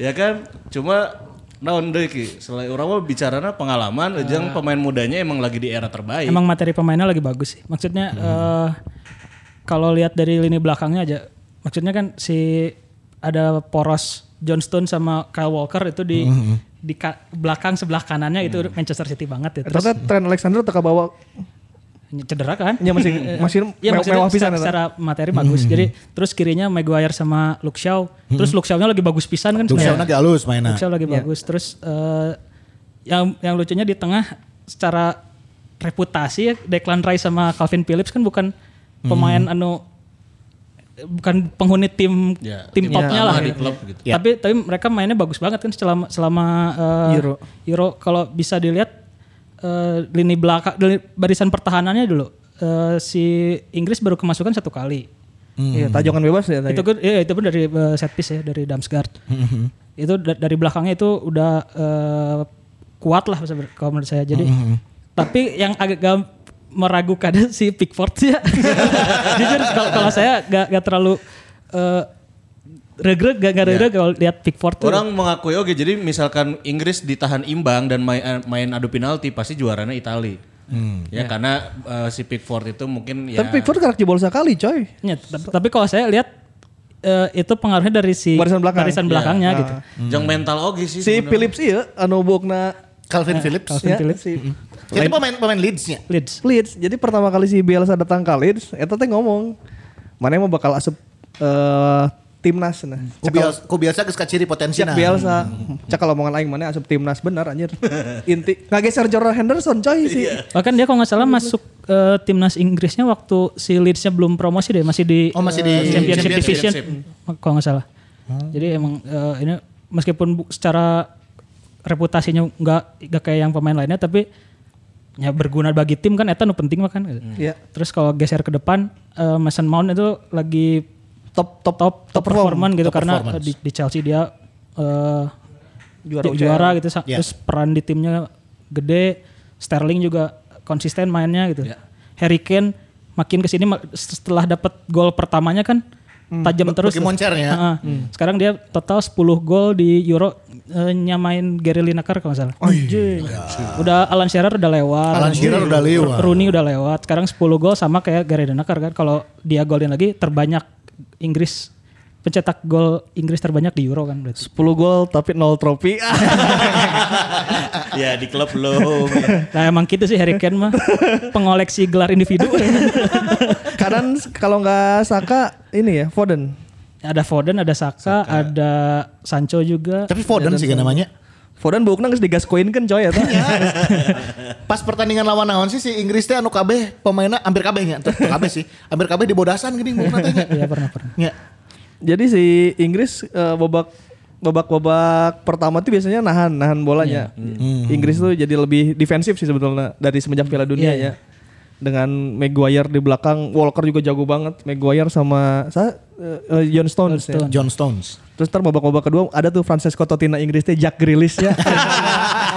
[SPEAKER 2] ya kan cuma naon deui ki selain orang mah bicarana pengalaman jeung pemain mudanya emang lagi di era
[SPEAKER 4] Iya.
[SPEAKER 2] terbaik
[SPEAKER 5] emang materi pemainnya lagi bagus sih. Maksudnya
[SPEAKER 4] Hmm.
[SPEAKER 5] eh, kalau lihat dari lini belakangnya aja, maksudnya kan si ada poros Johnstone sama Kyle Walker itu di
[SPEAKER 4] Hmm.
[SPEAKER 5] di ka- belakang sebelah kanannya itu Manchester City banget ya. Terus
[SPEAKER 4] Ternyata tren Alexander teka bawa
[SPEAKER 5] cedera kan?
[SPEAKER 4] nya masih Iya, masih
[SPEAKER 5] Iya
[SPEAKER 4] me-
[SPEAKER 5] maksudnya
[SPEAKER 4] mewah pisan ya, kan? Hmm.
[SPEAKER 5] secara,
[SPEAKER 4] eta.
[SPEAKER 5] secara materi bagus. Jadi terus kirinya Maguire sama Luke Shaw. Terus
[SPEAKER 4] Hmm.
[SPEAKER 5] Luke Shaw-nya lagi bagus pisan kan
[SPEAKER 3] Tuh
[SPEAKER 5] sebenarnya.
[SPEAKER 3] lagi halus mainan.
[SPEAKER 5] Luke Shaw lagi bagus. Terus eh, yang yang lucunya di tengah secara reputasi ya Declan Rice sama Calvin Phillips kan bukan
[SPEAKER 2] Hmm.
[SPEAKER 5] pemain anu bukan penghuni tim
[SPEAKER 2] Ya,
[SPEAKER 5] tim
[SPEAKER 2] tim utama
[SPEAKER 5] topnya lah
[SPEAKER 2] di
[SPEAKER 5] gitu.
[SPEAKER 2] klub gitu.
[SPEAKER 3] Ya.
[SPEAKER 5] Tapi tapi mereka mainnya bagus banget kan selama selama eh,
[SPEAKER 4] Euro.
[SPEAKER 5] kalau bisa dilihat eh, lini belakang lini- barisan pertahanannya dulu Eh, si Inggris baru kemasukan satu kali.
[SPEAKER 4] Iya, tajongan bebas ya tadi.
[SPEAKER 5] Itu kan iya, itu pun dari eh, set piece ya dari Damsgaard. itu da- dari belakangnya itu udah eh, kuat lah seber- kalau menurut saya. Jadi tapi yang agak gam- meragukan [LAUGHS] si Pickford ya. Jujur kalau kalau saya gak, gak terlalu eh, regreg gak, gak regreg kalau lihat Pickford tuh.
[SPEAKER 2] Orang mengakui oke jadi misalkan Inggris ditahan imbang dan main eh, main adu penalti pasti juaranya Itali. Ya karena eh, si Pickford itu mungkin ya
[SPEAKER 4] Tapi Pickford karak jebol sekali coy.
[SPEAKER 5] Ya, tapi, tapi kalau saya lihat eh, itu pengaruhnya dari si
[SPEAKER 4] Barisan belakang.
[SPEAKER 5] barisan belakangnya
[SPEAKER 2] Nah,
[SPEAKER 5] gitu.
[SPEAKER 2] Jeng mental oke sih.
[SPEAKER 4] Si
[SPEAKER 2] sebenarnya.
[SPEAKER 4] Phillips iya anu bokna
[SPEAKER 3] Calvin Phillips.
[SPEAKER 5] Calvin
[SPEAKER 4] ya,
[SPEAKER 5] Phillips.
[SPEAKER 4] si
[SPEAKER 3] Itu pemain pemain Leeds-nya.
[SPEAKER 5] Leeds.
[SPEAKER 4] Leeds. Jadi pertama kali si Bielsa datang ke Leeds, eta teh ngomong, "Mana mau bakal asup eh, timnas nah."
[SPEAKER 3] Ku biasa, ku biasa geus kaciri
[SPEAKER 4] Jack
[SPEAKER 3] potensina.
[SPEAKER 4] Bielsa. Cak kalau omongan aing mana asup timnas benar anjir. Inti ngageser Jordan Henderson coy si.
[SPEAKER 5] Bahkan dia kalau nggak salah masuk eh, timnas Inggrisnya waktu si Leedsnya belum promosi deh, masih di,
[SPEAKER 3] Oh, masih di
[SPEAKER 5] eh, Championship,
[SPEAKER 3] Championship.
[SPEAKER 5] Division kalau nggak salah. Jadi emang eh, ini meskipun bu- secara reputasinya nggak nggak kayak yang pemain lainnya, tapi ya berguna bagi tim kan, itu penting mah kan.
[SPEAKER 4] Iya.
[SPEAKER 5] Terus kalau geser ke depan, eh, Mason Mount itu lagi top top top top performan gitu karena eh, di, di Chelsea dia eh,
[SPEAKER 4] Juara UCL.
[SPEAKER 5] juara juara gitu sa-
[SPEAKER 3] Ya.
[SPEAKER 5] terus peran di timnya gede Sterling juga konsisten mainnya gitu Harry Kane makin kesini mak- setelah dapat gol pertamanya kan tajam terus
[SPEAKER 3] bagi moncernya.
[SPEAKER 5] Heeh. sekarang dia total 10 gol di Euro eh, nyamain Gary Lineker kalau nggak salah
[SPEAKER 4] Anjing.
[SPEAKER 5] udah Alan Shearer udah
[SPEAKER 3] Oh
[SPEAKER 5] lewat
[SPEAKER 3] iya. Alan Shearer udah lewat.
[SPEAKER 5] Rooney udah lewat sekarang 10 gol sama kayak Gary Lineker kan kalau dia golin lagi terbanyak Inggris pencetak gol Inggris terbanyak di Euro kan
[SPEAKER 3] [LAUGHS]
[SPEAKER 5] berarti
[SPEAKER 4] 10 gol tapi 0 trofi. [LAUGHS]
[SPEAKER 2] ya di klub ya, belum.
[SPEAKER 5] Nah emang gitu sih Harry Kane mah pengoleksi gelar
[SPEAKER 3] [LAUGHS]
[SPEAKER 5] individu.
[SPEAKER 4] Kanan kalau nggak Saka ini ya Foden.
[SPEAKER 5] ada Foden, ada Saka, ada Sancho juga.
[SPEAKER 3] Tapi Foden sih kan namanya.
[SPEAKER 4] Foden bokna geus digaskoin kan coy eta.
[SPEAKER 3] Pas pertandingan lawan naon sih si Inggris teh anu kabeh pemainna hampir kabeh nya. Teu kabeh sih. Hampir kabeh dibodasan gini ngomong tanya.
[SPEAKER 5] Iya pernah pernah.
[SPEAKER 3] Nya.
[SPEAKER 4] Jadi si Inggris eh, babak babak babak pertama tuh biasanya nahan nahan bolanya. Inggris tuh jadi lebih defensif sih sebetulnya dari semenjak Piala Dunia ya. Dengan Maguire di belakang, Walker juga jago banget. Maguire sama sa, eh, eh, John Stones. ya.
[SPEAKER 3] John Stones.
[SPEAKER 4] Terus ntar babak-babak kedua ada tuh Francesco Totina Inggris teh Jack Grealish ya.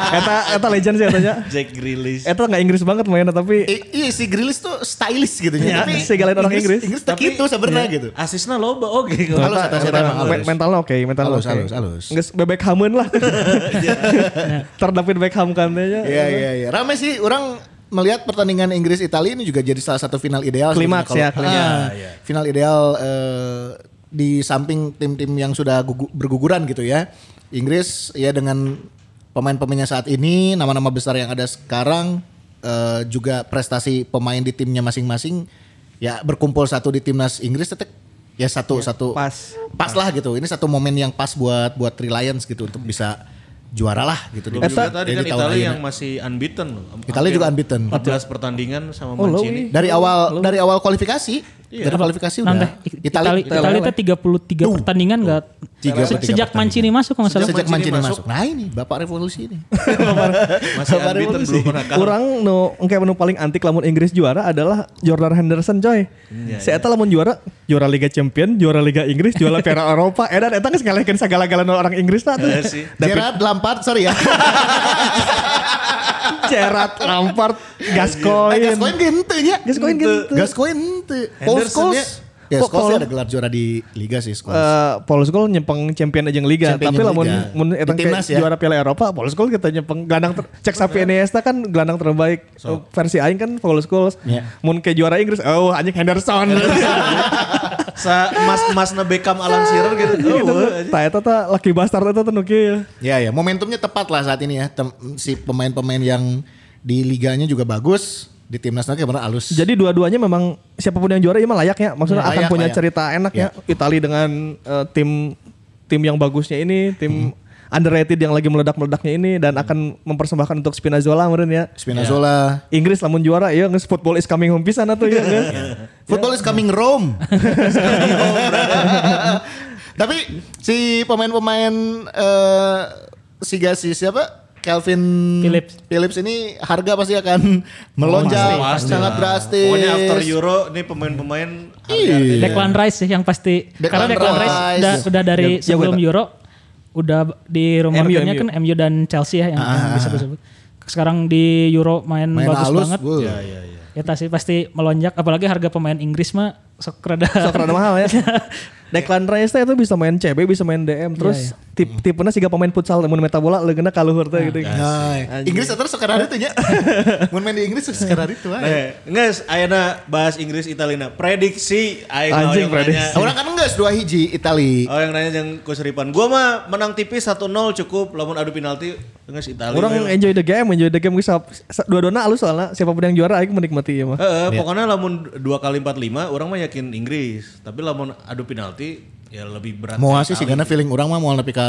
[SPEAKER 4] eta eta legend sih katanya.
[SPEAKER 2] Jack Grealish.
[SPEAKER 4] Eta nggak Inggris banget mainnya tapi
[SPEAKER 3] I- iya si Grilis tuh stylish gitu nya.
[SPEAKER 4] Ya,
[SPEAKER 3] Tapi
[SPEAKER 4] segalain orang Inggris. iya.
[SPEAKER 3] Inggris teh gitu sebenarnya gitu.
[SPEAKER 2] ya, Asisnya loba oke.
[SPEAKER 3] Halus
[SPEAKER 4] Eta-
[SPEAKER 3] atas
[SPEAKER 4] eta
[SPEAKER 3] eta emang
[SPEAKER 4] men-
[SPEAKER 3] halus.
[SPEAKER 4] mentalnya Nah, oke, mentalnya
[SPEAKER 3] Halus,
[SPEAKER 4] oke.
[SPEAKER 3] halus, halus.
[SPEAKER 4] Nges bebek hamun
[SPEAKER 2] [LAUGHS]
[SPEAKER 4] lah.
[SPEAKER 2] Iya.
[SPEAKER 4] [LAUGHS] Terdapit Beckham kan dia.
[SPEAKER 3] Iya iya iya. Rame sih orang melihat pertandingan Inggris Italia ini juga jadi salah satu final ideal.
[SPEAKER 4] Klimaks
[SPEAKER 3] sebenarnya
[SPEAKER 4] ya,
[SPEAKER 3] kalau-
[SPEAKER 4] klimaks.
[SPEAKER 2] Iya,
[SPEAKER 3] Ah, Final ideal eh, di samping tim-tim yang sudah gugu- berguguran gitu ya. Inggris ya dengan pemain-pemainnya saat ini, nama-nama besar yang ada sekarang eh, juga prestasi pemain di timnya masing-masing ya berkumpul satu di timnas Inggris tetap ya satu satu
[SPEAKER 4] pas.
[SPEAKER 3] pas lah gitu. Ini satu momen yang pas buat buat Three Lions gitu untuk bisa juara lah gitu di,
[SPEAKER 2] Belum juga
[SPEAKER 3] di
[SPEAKER 2] tadi kan
[SPEAKER 3] tahun
[SPEAKER 2] Italia
[SPEAKER 3] ayeuna.
[SPEAKER 2] yang masih unbeaten loh.
[SPEAKER 3] Italia juga unbeaten.
[SPEAKER 2] 14 pertandingan sama
[SPEAKER 4] Oh,
[SPEAKER 2] Mancini.
[SPEAKER 3] dari awal dari awal kualifikasi dari kualifikasi udah
[SPEAKER 5] Nanti Iya. Itali Itali itu 33 pertandingan enggak
[SPEAKER 3] 33
[SPEAKER 5] sejak
[SPEAKER 3] pertandingan.
[SPEAKER 5] Mancini masuk kalau nggak salah.
[SPEAKER 3] sejak
[SPEAKER 2] Mancini
[SPEAKER 3] Mancini
[SPEAKER 2] masuk.
[SPEAKER 3] masuk. Nah ini bapak revolusi [LAUGHS] ini.
[SPEAKER 2] Masih unbeaten belum pernah kalah.
[SPEAKER 4] Orang nu kayak menu paling antik lamun Inggris juara adalah Jordan Henderson coy.
[SPEAKER 2] Iya,
[SPEAKER 4] Si eta lamun juara, juara Liga Champion, juara Liga Inggris,
[SPEAKER 2] [LAUGHS]
[SPEAKER 4] juara Piala Eropa. Edan eta geus ngalahkeun sagala-galana orang Inggris lah tuh.
[SPEAKER 2] Iya sih.
[SPEAKER 3] Gerard Lampard sorry
[SPEAKER 5] [LAUGHS]
[SPEAKER 3] ya.
[SPEAKER 4] Gerard, Lampard,
[SPEAKER 2] Iya, Nah,
[SPEAKER 4] Gascoigne.
[SPEAKER 3] Gascoigne gitu ya.
[SPEAKER 4] Gascoigne gitu.
[SPEAKER 3] Gascoigne gitu. Paul
[SPEAKER 2] Henderson
[SPEAKER 3] Scholes.
[SPEAKER 2] ya.
[SPEAKER 3] Ya
[SPEAKER 4] Kok
[SPEAKER 3] Scholes
[SPEAKER 4] kalau-
[SPEAKER 3] ada gelar juara di Liga sih Scholes.
[SPEAKER 4] Eh, Paul Scholes nyempeng champion aja liga,
[SPEAKER 3] Champion
[SPEAKER 4] tapi
[SPEAKER 3] jeung
[SPEAKER 4] lamun
[SPEAKER 3] liga.
[SPEAKER 4] mun
[SPEAKER 3] Di
[SPEAKER 4] eta ke
[SPEAKER 3] timnas ya.
[SPEAKER 4] juara Piala Eropa, Paul Scholes kita nyempeng gelandang ter- cek [LAUGHS] Xavi Iniesta kan gelandang terbaik Eh, versi aing kan Paul Scholes.
[SPEAKER 3] Iya.
[SPEAKER 4] Mun ke juara Inggris, oh anjing [LAUGHS] Henderson.
[SPEAKER 2] Sa mas mas Beckham Alan Shearer gitu.
[SPEAKER 4] gitu.
[SPEAKER 2] Oh,
[SPEAKER 4] Tah eta tah laki bastard eta teh nu kieu.
[SPEAKER 3] Ya ya momentumnya tepat lah saat ini ya. Tem- si pemain-pemain yang di liganya juga bagus. Di timnasnya kayak benar halus.
[SPEAKER 4] Jadi dua-duanya memang siapapun yang juara ya mah layak ya. Maksudnya
[SPEAKER 3] Ya,
[SPEAKER 4] akan
[SPEAKER 3] layak,
[SPEAKER 4] punya
[SPEAKER 3] layak.
[SPEAKER 4] cerita enak ya. Itali dengan eh, tim tim yang bagusnya ini, tim underrated yang lagi meledak-meledaknya ini dan akan mempersembahkan untuk Spinazzola meureun ya.
[SPEAKER 5] Iya.
[SPEAKER 3] Spinazzola.
[SPEAKER 4] Inggris lamun juara ya nges football is coming home pisan atuh ya
[SPEAKER 3] [LAUGHS]
[SPEAKER 4] nges.
[SPEAKER 3] Football is
[SPEAKER 2] [LAUGHS]
[SPEAKER 3] coming Rome. Tapi si pemain-pemain eh, si Gasi siapa? Calvin
[SPEAKER 5] Phillips.
[SPEAKER 3] ini harga pasti akan melonjak
[SPEAKER 2] Oh, pasti
[SPEAKER 3] sangat
[SPEAKER 2] lah.
[SPEAKER 3] drastis.
[SPEAKER 2] Pokoknya after Euro nih pemain-pemain harga-harga.
[SPEAKER 3] Iya.
[SPEAKER 5] Declan Rice sih yang pasti.
[SPEAKER 3] Declan
[SPEAKER 5] Karena Declan Rice,
[SPEAKER 3] Rice.
[SPEAKER 5] udah, udah dari
[SPEAKER 4] Ya, ya
[SPEAKER 5] sebelum
[SPEAKER 4] gue
[SPEAKER 5] Euro udah di
[SPEAKER 4] MU.
[SPEAKER 5] rumornya kan MU dan Chelsea ya yang, yang bisa disebut. Sekarang di Euro
[SPEAKER 3] Ah,
[SPEAKER 5] main,
[SPEAKER 3] Main
[SPEAKER 5] bagus
[SPEAKER 3] halus,
[SPEAKER 5] banget.
[SPEAKER 3] wuh.
[SPEAKER 2] Iya, iya, iya.
[SPEAKER 5] Eta sih pasti melonjak apalagi harga pemain Inggris mah sok rada
[SPEAKER 4] Sok rada mahal
[SPEAKER 5] [LAUGHS]
[SPEAKER 4] ya. Declan Rice teh itu bisa main CB, bisa main
[SPEAKER 3] Iya,
[SPEAKER 4] DM, terus tip
[SPEAKER 3] Hmm.
[SPEAKER 4] tipenya siga pemain futsal mun meta bola leungeuna ka luhur teh gitu.
[SPEAKER 3] Nah, Inggris terus sekarang itu
[SPEAKER 2] [LAUGHS]
[SPEAKER 3] nya. Mun main di Inggris sekarang itu aja.
[SPEAKER 2] Eh, nges, ayana bahas Inggris Italina. Prediksi ayana
[SPEAKER 4] Anjing, prediksi.
[SPEAKER 2] nanya.
[SPEAKER 3] Orang kan enggak dua hiji Itali.
[SPEAKER 2] Oh yang nanya yang kusripan. Gua mah menang tipis 1-0 cukup lamun adu penalti nges Italia.
[SPEAKER 4] Nah, Orang enjoy the game, enjoy the game bisa dua-duana alus soalnya siapapun yang juara aing menikmati ya mah.
[SPEAKER 2] Heeh, pokoknya lamun 2 kali 45 orang mah yakin Inggris. Tapi lamun adu penalti ya lebih berat.
[SPEAKER 3] Moa sih sih karena feeling orang mah mau lebih ke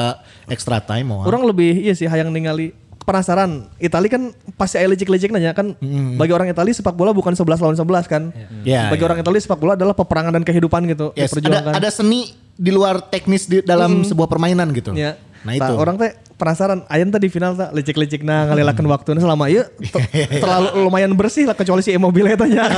[SPEAKER 3] extra time moa.
[SPEAKER 4] Orang lebih iya sih hayang ningali penasaran. Itali kan pasti aya licik-licik nanya kan
[SPEAKER 3] Hmm.
[SPEAKER 4] bagi orang Itali sepak bola bukan 11 lawan 11 kan.
[SPEAKER 3] Ya,
[SPEAKER 4] bagi
[SPEAKER 3] ya.
[SPEAKER 4] orang Itali sepak bola adalah peperangan dan kehidupan gitu,
[SPEAKER 3] Yes,
[SPEAKER 4] diperjuangkan.
[SPEAKER 3] ada ada seni di luar teknis di dalam sebuah permainan gitu.
[SPEAKER 4] Ya.
[SPEAKER 3] Nah itu.
[SPEAKER 4] orang teh penasaran, ayan tadi final tak licik-licik nah ngalelakan waktunya selama iya te-
[SPEAKER 3] [LAUGHS]
[SPEAKER 4] terlalu lumayan bersih lah kecuali si Immobile tanya.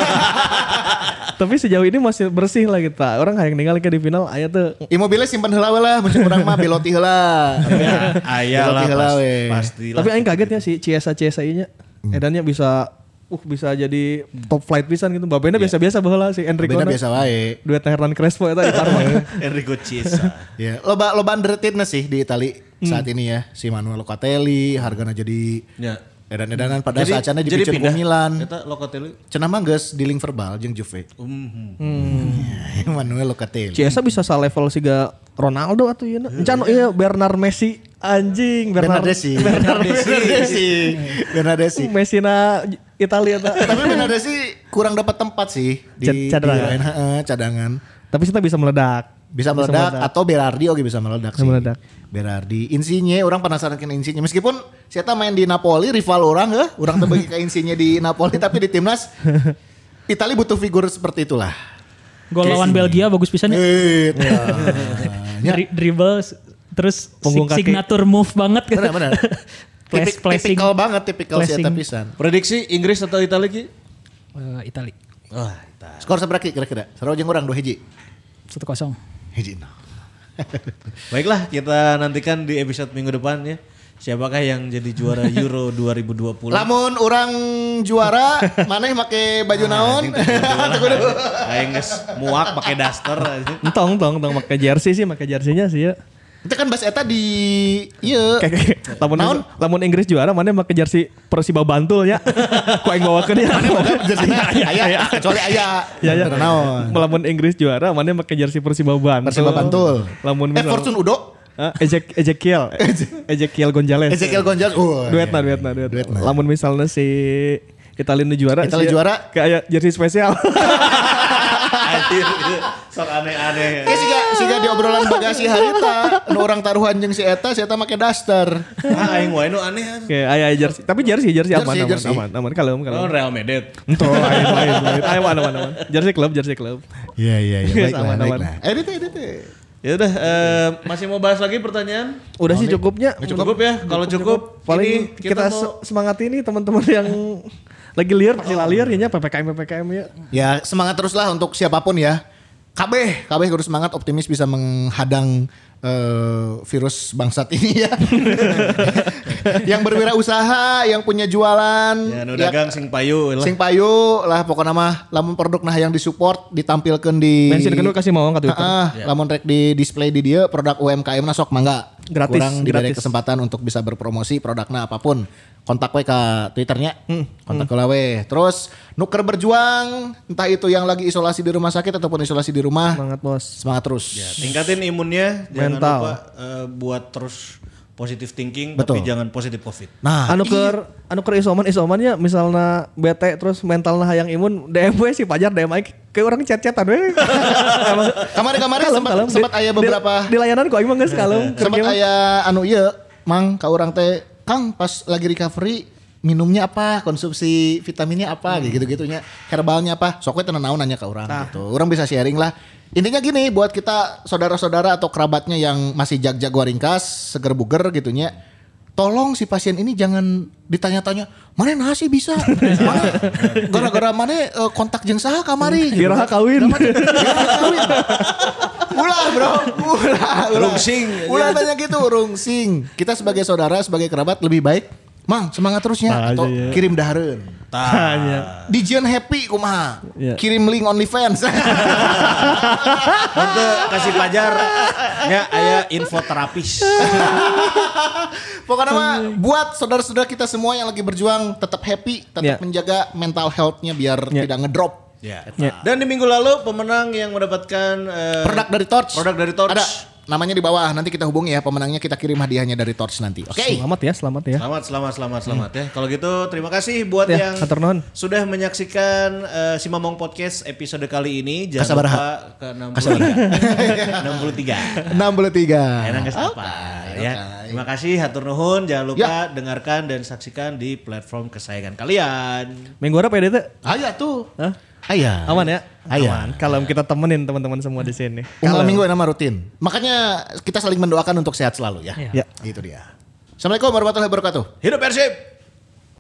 [SPEAKER 4] Tapi sejauh ini masih bersih lah kita. Orang yang ninggalin ke di final ayan tuh
[SPEAKER 3] Immobile simpan heula we lah, mencukup orang mah beloti heula.
[SPEAKER 2] Ya, ayah lah
[SPEAKER 3] Beloti heula
[SPEAKER 2] pas-
[SPEAKER 3] we.
[SPEAKER 2] pasti.
[SPEAKER 4] Tapi aing kaget ya si Ciesa Ciesa nya.
[SPEAKER 3] Hmm.
[SPEAKER 4] Edannya bisa uh bisa jadi top flight pisan gitu. Babena biasa-biasa baheula si Enrico.
[SPEAKER 3] Beda Hmm. Iya. biasa Eh. wae.
[SPEAKER 4] Duet Hernan Crespo eta di
[SPEAKER 3] [LAUGHS]
[SPEAKER 4] Parma.
[SPEAKER 2] Enrico Chiesa.
[SPEAKER 3] Ya, loba loba underratednya sih di Itali saat ini ya. Si Manuel Locatelli hargana jadi
[SPEAKER 2] Ya.
[SPEAKER 3] edan-edanan pada saat sana dipicek ke Milan.
[SPEAKER 2] Eta Locatelli.
[SPEAKER 3] Cenah mah geus di link verbal jeung Juve. [LAUGHS]
[SPEAKER 2] Mhm.
[SPEAKER 3] Manuel Locatelli.
[SPEAKER 4] Hmm. Ciesa bisa sa level siga Ronaldo atau ieu.
[SPEAKER 3] Eh,
[SPEAKER 4] Encan iya Bernard Messi anjing Bernard
[SPEAKER 3] Bernadesi. Bernadesi. Bernadesi.
[SPEAKER 4] Messi na Italia ta.
[SPEAKER 3] Tapi Bernadesi kurang dapat tempat sih di,
[SPEAKER 4] Cad- cadangan.
[SPEAKER 3] di lain, heeh, cadangan.
[SPEAKER 4] Tapi kita bisa meledak.
[SPEAKER 3] Bisa meledak atau Berardi oke bisa meledak sih.
[SPEAKER 4] Bisa meledak.
[SPEAKER 3] Berardi, Insigne orang penasaran kan Insigne. Meskipun siapa main di Napoli rival orang ya, orang terbagi ke Insigne di
[SPEAKER 4] [LAUGHS]
[SPEAKER 3] Napoli tapi di timnas Itali butuh figur seperti itulah.
[SPEAKER 5] gol lawan Belgia bagus pisan ya.
[SPEAKER 3] Eh, [LAUGHS] ya.
[SPEAKER 5] Dri- dribble s- terus
[SPEAKER 4] Punggung
[SPEAKER 5] sig-
[SPEAKER 4] kaki.
[SPEAKER 5] signature move banget
[SPEAKER 3] Benar benar.
[SPEAKER 5] [LAUGHS] Plas-
[SPEAKER 3] Tipik-
[SPEAKER 5] Plasing
[SPEAKER 3] Tipikal banget tipikal si
[SPEAKER 5] Flashing.
[SPEAKER 3] Eta pisan.
[SPEAKER 2] Prediksi Inggris atau Italia Ki?
[SPEAKER 5] Eh, Itali
[SPEAKER 2] Wah, Italia.
[SPEAKER 3] Skor seberapa Ki, kira-kira? Sarua jeung urang 2 hiji.
[SPEAKER 5] 1-0.
[SPEAKER 3] Hiji. nol.
[SPEAKER 2] Baiklah, kita nantikan di episode minggu depan ya. Siapakah yang jadi juara
[SPEAKER 3] [LAUGHS]
[SPEAKER 2] Euro 2020?
[SPEAKER 3] Lamun orang juara, [LAUGHS] maneh make baju naon? [LAUGHS]
[SPEAKER 2] Aing geus muak pakai daster aja.
[SPEAKER 4] Entong entong entong pakai jersey sih, pakai jersey-nya sih ya.
[SPEAKER 3] Itu kan bahasa Eta di iya.
[SPEAKER 4] Kayak lamun
[SPEAKER 3] Naon?
[SPEAKER 4] lamun Inggris juara mana make jersey Persiba Bantul ya. Ku aing bawakeun ya.
[SPEAKER 3] [LAUGHS] Ayah, ayah, kecuali ayah.
[SPEAKER 4] Ya ya.
[SPEAKER 3] Naon?
[SPEAKER 4] Lamun Inggris juara mana make jersey Persiba Bantul.
[SPEAKER 3] Persib Bantul.
[SPEAKER 4] Lamun
[SPEAKER 3] Eh
[SPEAKER 4] misal-
[SPEAKER 3] Fortune Udo.
[SPEAKER 4] Ah, Ezek- Ezekiel, Ezekiel Gonzalez. nah,
[SPEAKER 3] Ezekiel Gonzalez. Oh,
[SPEAKER 4] Duetna,
[SPEAKER 3] nah.
[SPEAKER 4] duetna, duetna. Lamun misalnya si Italia nu juara,
[SPEAKER 3] Italia
[SPEAKER 4] sih,
[SPEAKER 3] juara.
[SPEAKER 4] kayak jersey spesial. [LAUGHS]
[SPEAKER 2] Anjir, sok aneh-aneh.
[SPEAKER 3] Eh siga siga di obrolan bagasi harita, nu orang taruhan jeung si Eta, si Eta make daster.
[SPEAKER 2] Ah, aing wae nu aneh. anjing.
[SPEAKER 4] Oke, aya aya jersey, tapi jersey jersey aman
[SPEAKER 3] Jersey,
[SPEAKER 4] aman
[SPEAKER 3] jersey.
[SPEAKER 4] aman aman kalau
[SPEAKER 2] Lawan
[SPEAKER 4] kalau.
[SPEAKER 2] Real Madrid.
[SPEAKER 4] Entuh, lain lain lain. [LAUGHS] Ayo Ya, aman aman aman. Jersey club, jersey club.
[SPEAKER 3] Iya, iya, iya.
[SPEAKER 4] Aman, aman.
[SPEAKER 3] Eh, ini teh, ini teh.
[SPEAKER 2] Ya udah, eh, masih mau bahas lagi pertanyaan?
[SPEAKER 4] Udah sih cukupnya.
[SPEAKER 2] Cukup, ya? Kalau cukup, ini
[SPEAKER 4] Paling
[SPEAKER 2] mau-
[SPEAKER 4] kita, se- semangat ini teman-teman [LAUGHS] yang lagi liar pasti lah liar ya PPKM PPKM ya.
[SPEAKER 3] Ya semangat teruslah untuk siapapun ya. KB, KB harus semangat optimis bisa menghadang eh, virus bangsat ini ya. [LAUGHS] yang berwirausaha, yang punya jualan,
[SPEAKER 2] Ya, nu dagang sing payu lah.
[SPEAKER 3] Hmm, sing payu lah pokoknya mah lamun produk nah yang disupport ditampilkan di
[SPEAKER 4] Mention kedua kasih mau angkat Twitter.
[SPEAKER 3] Heeh, lamun rek di display di dia produk UMKM na nah sok mangga.
[SPEAKER 4] Gratis,
[SPEAKER 3] Kurang diberi
[SPEAKER 4] gratis.
[SPEAKER 3] kesempatan untuk bisa berpromosi produknya apapun. Kontak we ke Twitternya.
[SPEAKER 4] Hmm.
[SPEAKER 3] Kontak heula we. Terus nuker berjuang entah itu yang lagi isolasi di rumah sakit ataupun isolasi di rumah.
[SPEAKER 4] Semangat bos.
[SPEAKER 3] Semangat terus.
[SPEAKER 2] Ya, tingkatin imunnya, jangan
[SPEAKER 4] Mental.
[SPEAKER 2] lupa eh, buat terus positive thinking
[SPEAKER 3] Betul.
[SPEAKER 2] tapi jangan positive covid.
[SPEAKER 3] Nah,
[SPEAKER 4] anu keur anu keur isoman isomannya misalnya bete terus mentalna hayang imun DM we si Pajar DM aing ke orang chat-chatan we. [LAUGHS] Emang
[SPEAKER 3] kamari-kamari
[SPEAKER 4] kalem,
[SPEAKER 3] sempat
[SPEAKER 4] kalem.
[SPEAKER 3] sempat
[SPEAKER 4] Di-
[SPEAKER 3] aya
[SPEAKER 4] di-
[SPEAKER 3] beberapa
[SPEAKER 4] di, layanan kok aing mah geus kalem. Keur
[SPEAKER 3] sempat
[SPEAKER 4] kieu mah.
[SPEAKER 3] aya anu iya, Mang ka urang teh Kang pas lagi recovery minumnya apa konsumsi vitaminnya apa gitu gitunya herbalnya apa sok we teu naon nanya ke orang gitu orang bisa sharing lah intinya gini buat kita saudara-saudara atau kerabatnya yang masih jag-jag waringkas seger buger gitunya tolong si pasien ini jangan ditanya-tanya mana nasi bisa mana gara-gara mana eh, kontak jeung saha kamari gitu.
[SPEAKER 4] Biraha kawin.
[SPEAKER 3] Ulah bro, ulah, ulah.
[SPEAKER 2] Rungsing.
[SPEAKER 3] Ulah tanya gitu, rungsing. Kita sebagai saudara, sebagai kerabat lebih baik, Mang semangat terusnya
[SPEAKER 4] Nah,
[SPEAKER 3] atau
[SPEAKER 4] aja ya.
[SPEAKER 3] kirim dahareun. [LAUGHS] Iya.
[SPEAKER 2] Tah.
[SPEAKER 3] Dijian happy kumaha.
[SPEAKER 4] Ah. Iya.
[SPEAKER 3] Kirim link OnlyFans. [LAUGHS]
[SPEAKER 2] Untuk kasih pajar ya aya info
[SPEAKER 3] [LAUGHS]
[SPEAKER 2] terapis.
[SPEAKER 3] Pokoknya mah buat saudara-saudara kita semua yang lagi berjuang tetap happy, tetap
[SPEAKER 4] Iya.
[SPEAKER 3] menjaga mental health-nya biar
[SPEAKER 4] Iya.
[SPEAKER 3] tidak ngedrop.
[SPEAKER 2] Ya.
[SPEAKER 4] Ya.
[SPEAKER 2] Dan di minggu lalu pemenang yang mendapatkan eh,
[SPEAKER 3] Produk dari Torch.
[SPEAKER 2] Produk dari Torch.
[SPEAKER 3] Ada namanya di bawah. Nanti kita hubungi ya pemenangnya kita kirim hadiahnya dari Torch nanti. Oke.
[SPEAKER 4] Selamat ya, selamat ya.
[SPEAKER 2] Selamat, selamat, selamat, selamat
[SPEAKER 3] Hmm.
[SPEAKER 2] ya. Kalau gitu terima kasih buat
[SPEAKER 4] Ya,
[SPEAKER 2] yang
[SPEAKER 4] hatur nuhun.
[SPEAKER 2] sudah menyaksikan eh, si Mamong Podcast episode kali ini. Jangan
[SPEAKER 3] Kasabaraha.
[SPEAKER 2] lupa ke [LAUGHS] 63. 63.
[SPEAKER 3] 63.
[SPEAKER 2] Enak nggak apa ya. Terima kasih, hatur nuhun. Jangan lupa dengarkan dan saksikan di platform kesayangan kalian.
[SPEAKER 4] Minggu harap ya Dete?
[SPEAKER 3] Ayah tuh.
[SPEAKER 4] Hah?
[SPEAKER 3] Ayah.
[SPEAKER 4] Aman ya?
[SPEAKER 3] Ayah.
[SPEAKER 4] Aman. Kalau kita temenin teman-teman semua di sini.
[SPEAKER 3] Kalau minggu nama rutin. Makanya kita saling mendoakan untuk sehat selalu ya.
[SPEAKER 4] Ya.
[SPEAKER 3] Itu dia. Assalamualaikum warahmatullahi wabarakatuh.
[SPEAKER 2] Hidup Persib!